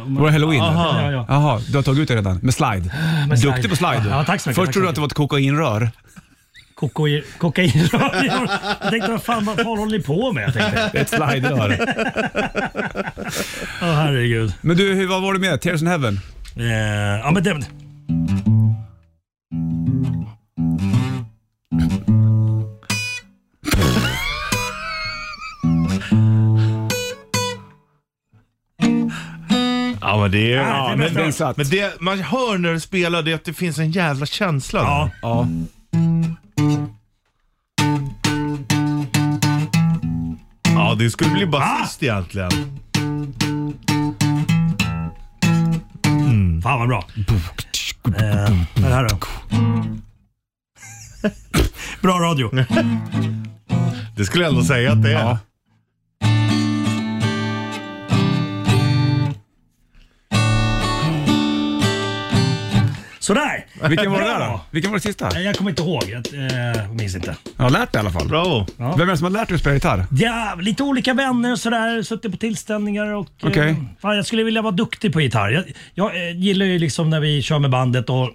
Speaker 7: och...
Speaker 2: Var det halloween?
Speaker 7: Aha.
Speaker 2: eller?
Speaker 7: Ja, ja.
Speaker 2: Jaha, du har tagit ut det redan? Med slide?
Speaker 7: Med slide.
Speaker 2: Duktig på slide. du.
Speaker 7: Ja, tack så mycket,
Speaker 2: Först trodde
Speaker 7: tack så
Speaker 2: du att det var ett kokainrör.
Speaker 7: Kokain... kokain jag tänkte vad fan, vad fan håller ni på med? Jag tänkte.
Speaker 2: Det är ett slide-rör.
Speaker 7: Åh herregud.
Speaker 2: Men du, hur- vad var det med? Tears in heaven?
Speaker 7: Eh, ja, men det...
Speaker 3: Ja, men det är...
Speaker 7: Ja, det är bäst.
Speaker 2: Den satt.
Speaker 3: Men det, man hör när du spelar det att det finns en jävla känsla där.
Speaker 7: Ja.
Speaker 2: Ja.
Speaker 3: Ja, det skulle bli
Speaker 7: Ah!
Speaker 3: basist egentligen.
Speaker 7: Fan vad bra. Eh, vad är det här då? bra radio.
Speaker 3: Det skulle jag ändå säga att det är.
Speaker 2: Ja.
Speaker 7: Sådär!
Speaker 2: Vilken var det
Speaker 7: Bra.
Speaker 2: där då? Vilken var det sista?
Speaker 7: Eh, Jag kommer inte ihåg. Jag eh, minns inte.
Speaker 2: Jag har lärt dig i alla fall.
Speaker 3: Bravo.
Speaker 7: Ja.
Speaker 2: Vem är det som har lärt dig att spela gitarr?
Speaker 7: Ja, lite olika vänner och sådär. Suttit på tillställningar och... eh,
Speaker 2: Okej.
Speaker 7: fan, jag skulle vilja vara duktig på gitarr. Jag, jag eh, gillar ju liksom när vi kör med bandet och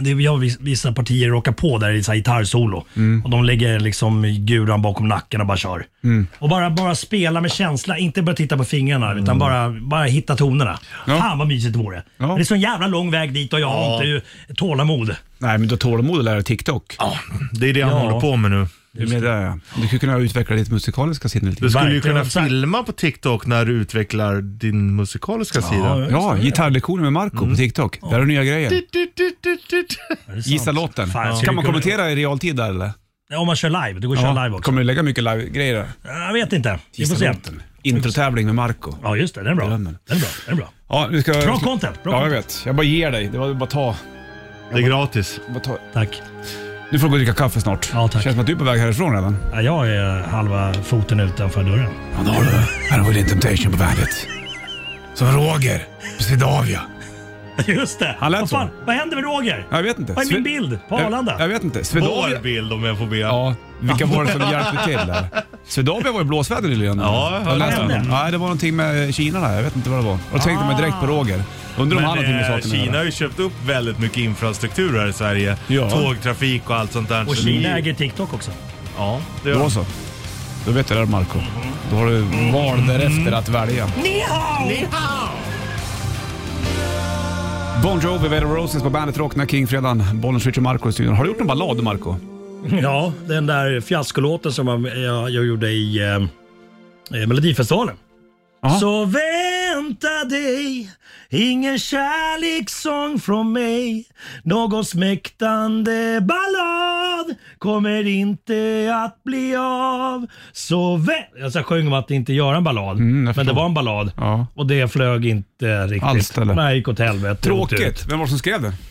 Speaker 7: det, jag har vis- vissa partier råkar på där i så här gitarrsolo.
Speaker 2: Mm.
Speaker 7: Och de lägger liksom guran bakom nacken och bara kör.
Speaker 2: Mm.
Speaker 7: Och bara, bara spela med känsla, inte bara titta på fingrarna utan bara, bara hitta tonerna.
Speaker 2: Ja.
Speaker 7: Fan vad mysigt det vore. Men det är så en jävla lång väg dit och jag har inte tålamod.
Speaker 2: Nej, men du har tålamod att lära dig TikTok.
Speaker 3: Det är det han
Speaker 7: Ja.
Speaker 3: håller på med nu.
Speaker 2: det är det. Ja. Du skulle kunna utveckla ditt musikaliska sinne lite.
Speaker 3: Du skulle ju
Speaker 7: Verkligen.
Speaker 3: kunna
Speaker 7: Exakt.
Speaker 3: filma på TikTok när du utvecklar din musikaliska sida.
Speaker 2: Ja, gitarrlektioner med Marco
Speaker 7: Mm.
Speaker 2: på TikTok. Där har du nya grejer. Gissa låten.
Speaker 7: Fan,
Speaker 2: Kan
Speaker 7: skulle
Speaker 2: man
Speaker 7: kunna-
Speaker 2: kommentera i realtid där eller?
Speaker 7: Om man kör live, det går att köra live också.
Speaker 2: Kommer du lägga mycket live-grejer där?
Speaker 7: Jag vet inte. Vi får se.
Speaker 2: Gissa låten. Introtävling med Marco
Speaker 7: Ja just det, den är bra. Den är
Speaker 2: Drömmen.
Speaker 7: bra. Den är bra.
Speaker 2: Ja, nu ska
Speaker 7: Bra content, bra
Speaker 2: ja, jag
Speaker 7: content.
Speaker 2: vet. Jag bara ger dig. Det var bara ta.
Speaker 3: Det är gratis.
Speaker 2: Bara ta.
Speaker 7: Tack.
Speaker 2: Nu får du gå och dricka kaffe snart.
Speaker 7: Ja, tack.
Speaker 2: Känns som att du är på väg härifrån redan.
Speaker 7: Ja, Jag är eh, halva foten utanför dörren.
Speaker 2: Ja, det har du. Här har vi din Temptation på bandet. Som Roger på Swedavia.
Speaker 7: Just det.
Speaker 2: Han lät
Speaker 7: vad,
Speaker 2: så.
Speaker 7: fan, vad händer med Roger?
Speaker 2: Jag vet inte.
Speaker 7: Vad är min
Speaker 2: Sve-
Speaker 7: bild på
Speaker 2: Jag, jag
Speaker 7: Arlanda?
Speaker 2: vet inte.
Speaker 3: Vår
Speaker 2: Swedavia.
Speaker 3: bild om jag får be.
Speaker 2: Ja, vilka var det som hjälpte till där? Swedavia var i blåsväder nyligen.
Speaker 3: Ja, jag hörde
Speaker 2: läste om
Speaker 7: det.
Speaker 2: det. Nej, det var någonting med Kina där. Jag vet inte vad det var. Och då tänkte man direkt på
Speaker 7: Ah.
Speaker 2: Roger. Undrar om han har någonting med
Speaker 3: Men eh,
Speaker 2: saken att
Speaker 3: Kina har
Speaker 2: göra.
Speaker 3: ju köpt upp väldigt mycket infrastruktur här i Sverige.
Speaker 2: Ja.
Speaker 3: Tågtrafik och allt sånt där.
Speaker 7: Och
Speaker 3: Så
Speaker 7: Kina
Speaker 3: det-
Speaker 7: äger TikTok också.
Speaker 3: Ja, det
Speaker 2: Då
Speaker 3: gör
Speaker 2: så. Då vet du det Marco Då har du val därefter att välja.
Speaker 7: Ni hao!
Speaker 2: Bon Jovi, Vader Roses på bandet Rock när King-fredagen. Bollen switcher Marco i studion. Har du gjort någon ballad Marco?
Speaker 7: Ja, den där fiaskolåten som jag, jag, jag gjorde i eh, eh, Melodifestivalen.
Speaker 2: Aha.
Speaker 7: Så vänta dig ingen kärlekssång från mig Någon smäktande ballad kommer inte att bli av Så vä- alltså Jag sjöng om att inte göra en ballad,
Speaker 2: Mm, jag
Speaker 7: men det
Speaker 2: förstår.
Speaker 7: var en ballad.
Speaker 2: Ja.
Speaker 7: Och det flög inte riktigt.
Speaker 2: Alls, eller?
Speaker 7: Nej, gick åt helvete. Otur.
Speaker 2: Tråkigt. Vem var det som skrev den?
Speaker 7: Eh,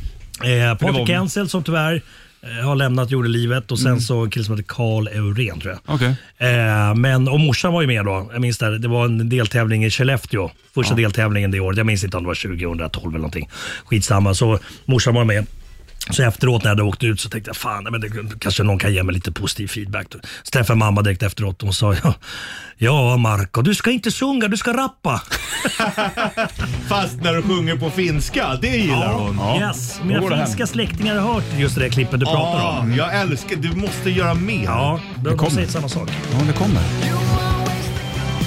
Speaker 2: det var-
Speaker 7: Patrik
Speaker 2: Mm.
Speaker 7: Kenzel som tyvärr eh, har lämnat jordelivet och sen så en kille som heter Karl Eurén tror jag.
Speaker 2: Okej.
Speaker 7: Eh, men, och morsan var ju med då. Jag minns det, här, det var en deltävling i Skellefteå. Första deltävlingen det året. Jag minns inte om det var 2012 eller någonting. Skitsamma. Så morsan var med. Så efteråt när jag hade åkt ut så tänkte jag fan, nej, men det, kanske någon kan ge mig lite positiv feedback. då. Så träffade jag mamma direkt efteråt och hon sa ja, ja Marco, du ska inte sjunga, du ska rappa.
Speaker 3: Fast när du sjunger på finska, det gillar hon.
Speaker 7: Yes,
Speaker 2: Då går det
Speaker 7: mina
Speaker 2: hem.
Speaker 7: finska släktingar har hört just det där klippet du pratar om.
Speaker 3: Ja,
Speaker 2: Mm.
Speaker 3: jag älskar Du måste göra mer.
Speaker 7: Ja, de, de
Speaker 2: kommer.
Speaker 7: säger samma sak.
Speaker 2: Ja, det kommer.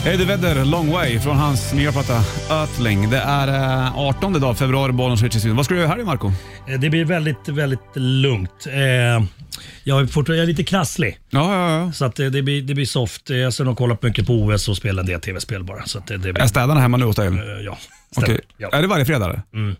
Speaker 2: Eddie Vedder, Long Way, från hans nya platta Earthling. Det är eh, 18 dag februari, Bollen switcher i studion. Vad ska du göra här i Marco?
Speaker 7: Eh, Det blir väldigt, väldigt lugnt. Eh, Jag är, fortfarande, jag är lite krasslig,
Speaker 2: Ja, ja, ja.
Speaker 7: så att eh, det, blir, det blir soft. Eh, Jag ska nog kolla på mycket på OS och spela en del tv-spel bara. Så att eh, det, det blir,
Speaker 2: Är städarna hemma nu åt dig?
Speaker 7: eh, ja,
Speaker 2: Alltså, Okej. Äh,
Speaker 7: stämmer. ja.
Speaker 2: Är det varje fredag? eller?
Speaker 7: Mm.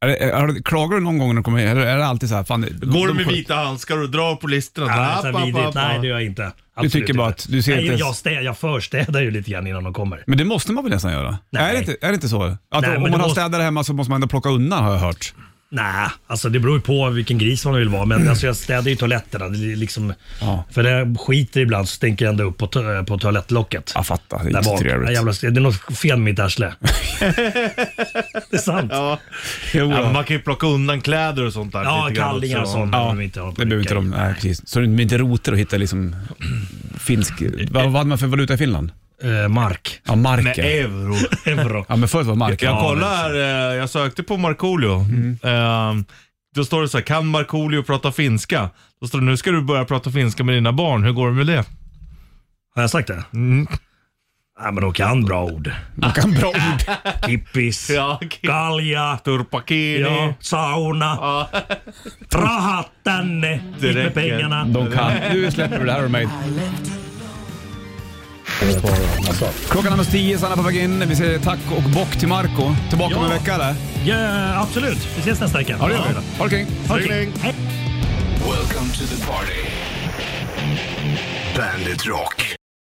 Speaker 2: Är det, är, har du- klagar du någon gång när du kommer in? Eller är det alltid så här, fan,
Speaker 3: Går
Speaker 2: de-
Speaker 3: du med vita handskar och drar på listorna?
Speaker 7: Nej,
Speaker 3: App,
Speaker 7: så här
Speaker 3: app,
Speaker 7: vidrigt.
Speaker 3: app,
Speaker 7: Nej,
Speaker 3: app.
Speaker 7: det gör jag inte.
Speaker 2: tycker bara att du ser
Speaker 7: Nej,
Speaker 2: inte
Speaker 7: jag,
Speaker 2: ens-
Speaker 7: jag, städ, jag förstädar ju lite grann innan de kommer.
Speaker 2: Men det måste man väl nästan göra?
Speaker 7: Nej.
Speaker 2: Är, det inte, är det inte så? Att
Speaker 7: men
Speaker 2: om man
Speaker 7: det
Speaker 2: har
Speaker 7: måste-
Speaker 2: städare hemma så måste man ändå plocka undan har jag hört.
Speaker 7: Nej, alltså det beror ju på vilken gris man vill vara. Men alltså jag städar ju toaletterna. Det är liksom,
Speaker 2: Ja.
Speaker 7: För det skiter ibland så stänker jag ändå upp på, to- eh, på toalettlocket.
Speaker 2: Jag fattar, det är
Speaker 7: Där
Speaker 2: inte
Speaker 7: bak.
Speaker 2: trevligt.
Speaker 7: Nej, jävla, det är något fel med mitt arsle. det är sant. Ja,
Speaker 3: Ja.
Speaker 2: Jo,
Speaker 3: Ja, men
Speaker 2: ja.
Speaker 3: man kan ju plocka undan kläder och sånt där. lite grann
Speaker 7: kallingar och
Speaker 3: också.
Speaker 7: sånt.
Speaker 2: Ja,
Speaker 7: behöver vi inte ha på
Speaker 2: det behöver inte de.
Speaker 7: mycket.
Speaker 2: Nej, precis. Så de inte roter och hittar liksom finsk... Vad, vad hade man för valuta i Finland?
Speaker 7: Eh, mark.
Speaker 2: Ja,
Speaker 3: Med
Speaker 2: marker.
Speaker 3: euro.
Speaker 7: Euro.
Speaker 2: Ja, men förut var marker.
Speaker 3: Jag
Speaker 2: Ja,
Speaker 3: kollar här, eh, jag sökte på Markoolio. Ehm, Då står det så här, kan Markoolio prata finska? Då står det, nu ska du börja prata finska med dina barn, hur går det med det?
Speaker 7: Har jag sagt det? Nej, men de kan bra ord.
Speaker 2: De Mm. kan bra ord.
Speaker 7: Kippis,
Speaker 3: Ja,
Speaker 7: kalja,
Speaker 3: Turpakini.
Speaker 7: ja, sauna, trahat tänne,
Speaker 3: Det
Speaker 7: hit
Speaker 3: räcker.
Speaker 7: med pengarna.
Speaker 2: De kan. Nu släpper vi det här har du mig. Klockan är tio, Sanna på väg in. Vi säger tack och bock till Marco Tillbaka om en
Speaker 7: Ja.
Speaker 2: vecka eller?
Speaker 7: Ja, absolut. Vi ses nästa vecka.
Speaker 2: Ja, det gör vi. Ha det kring.
Speaker 7: Okej. Hej.
Speaker 1: Welcome to the party. Bandit Rock.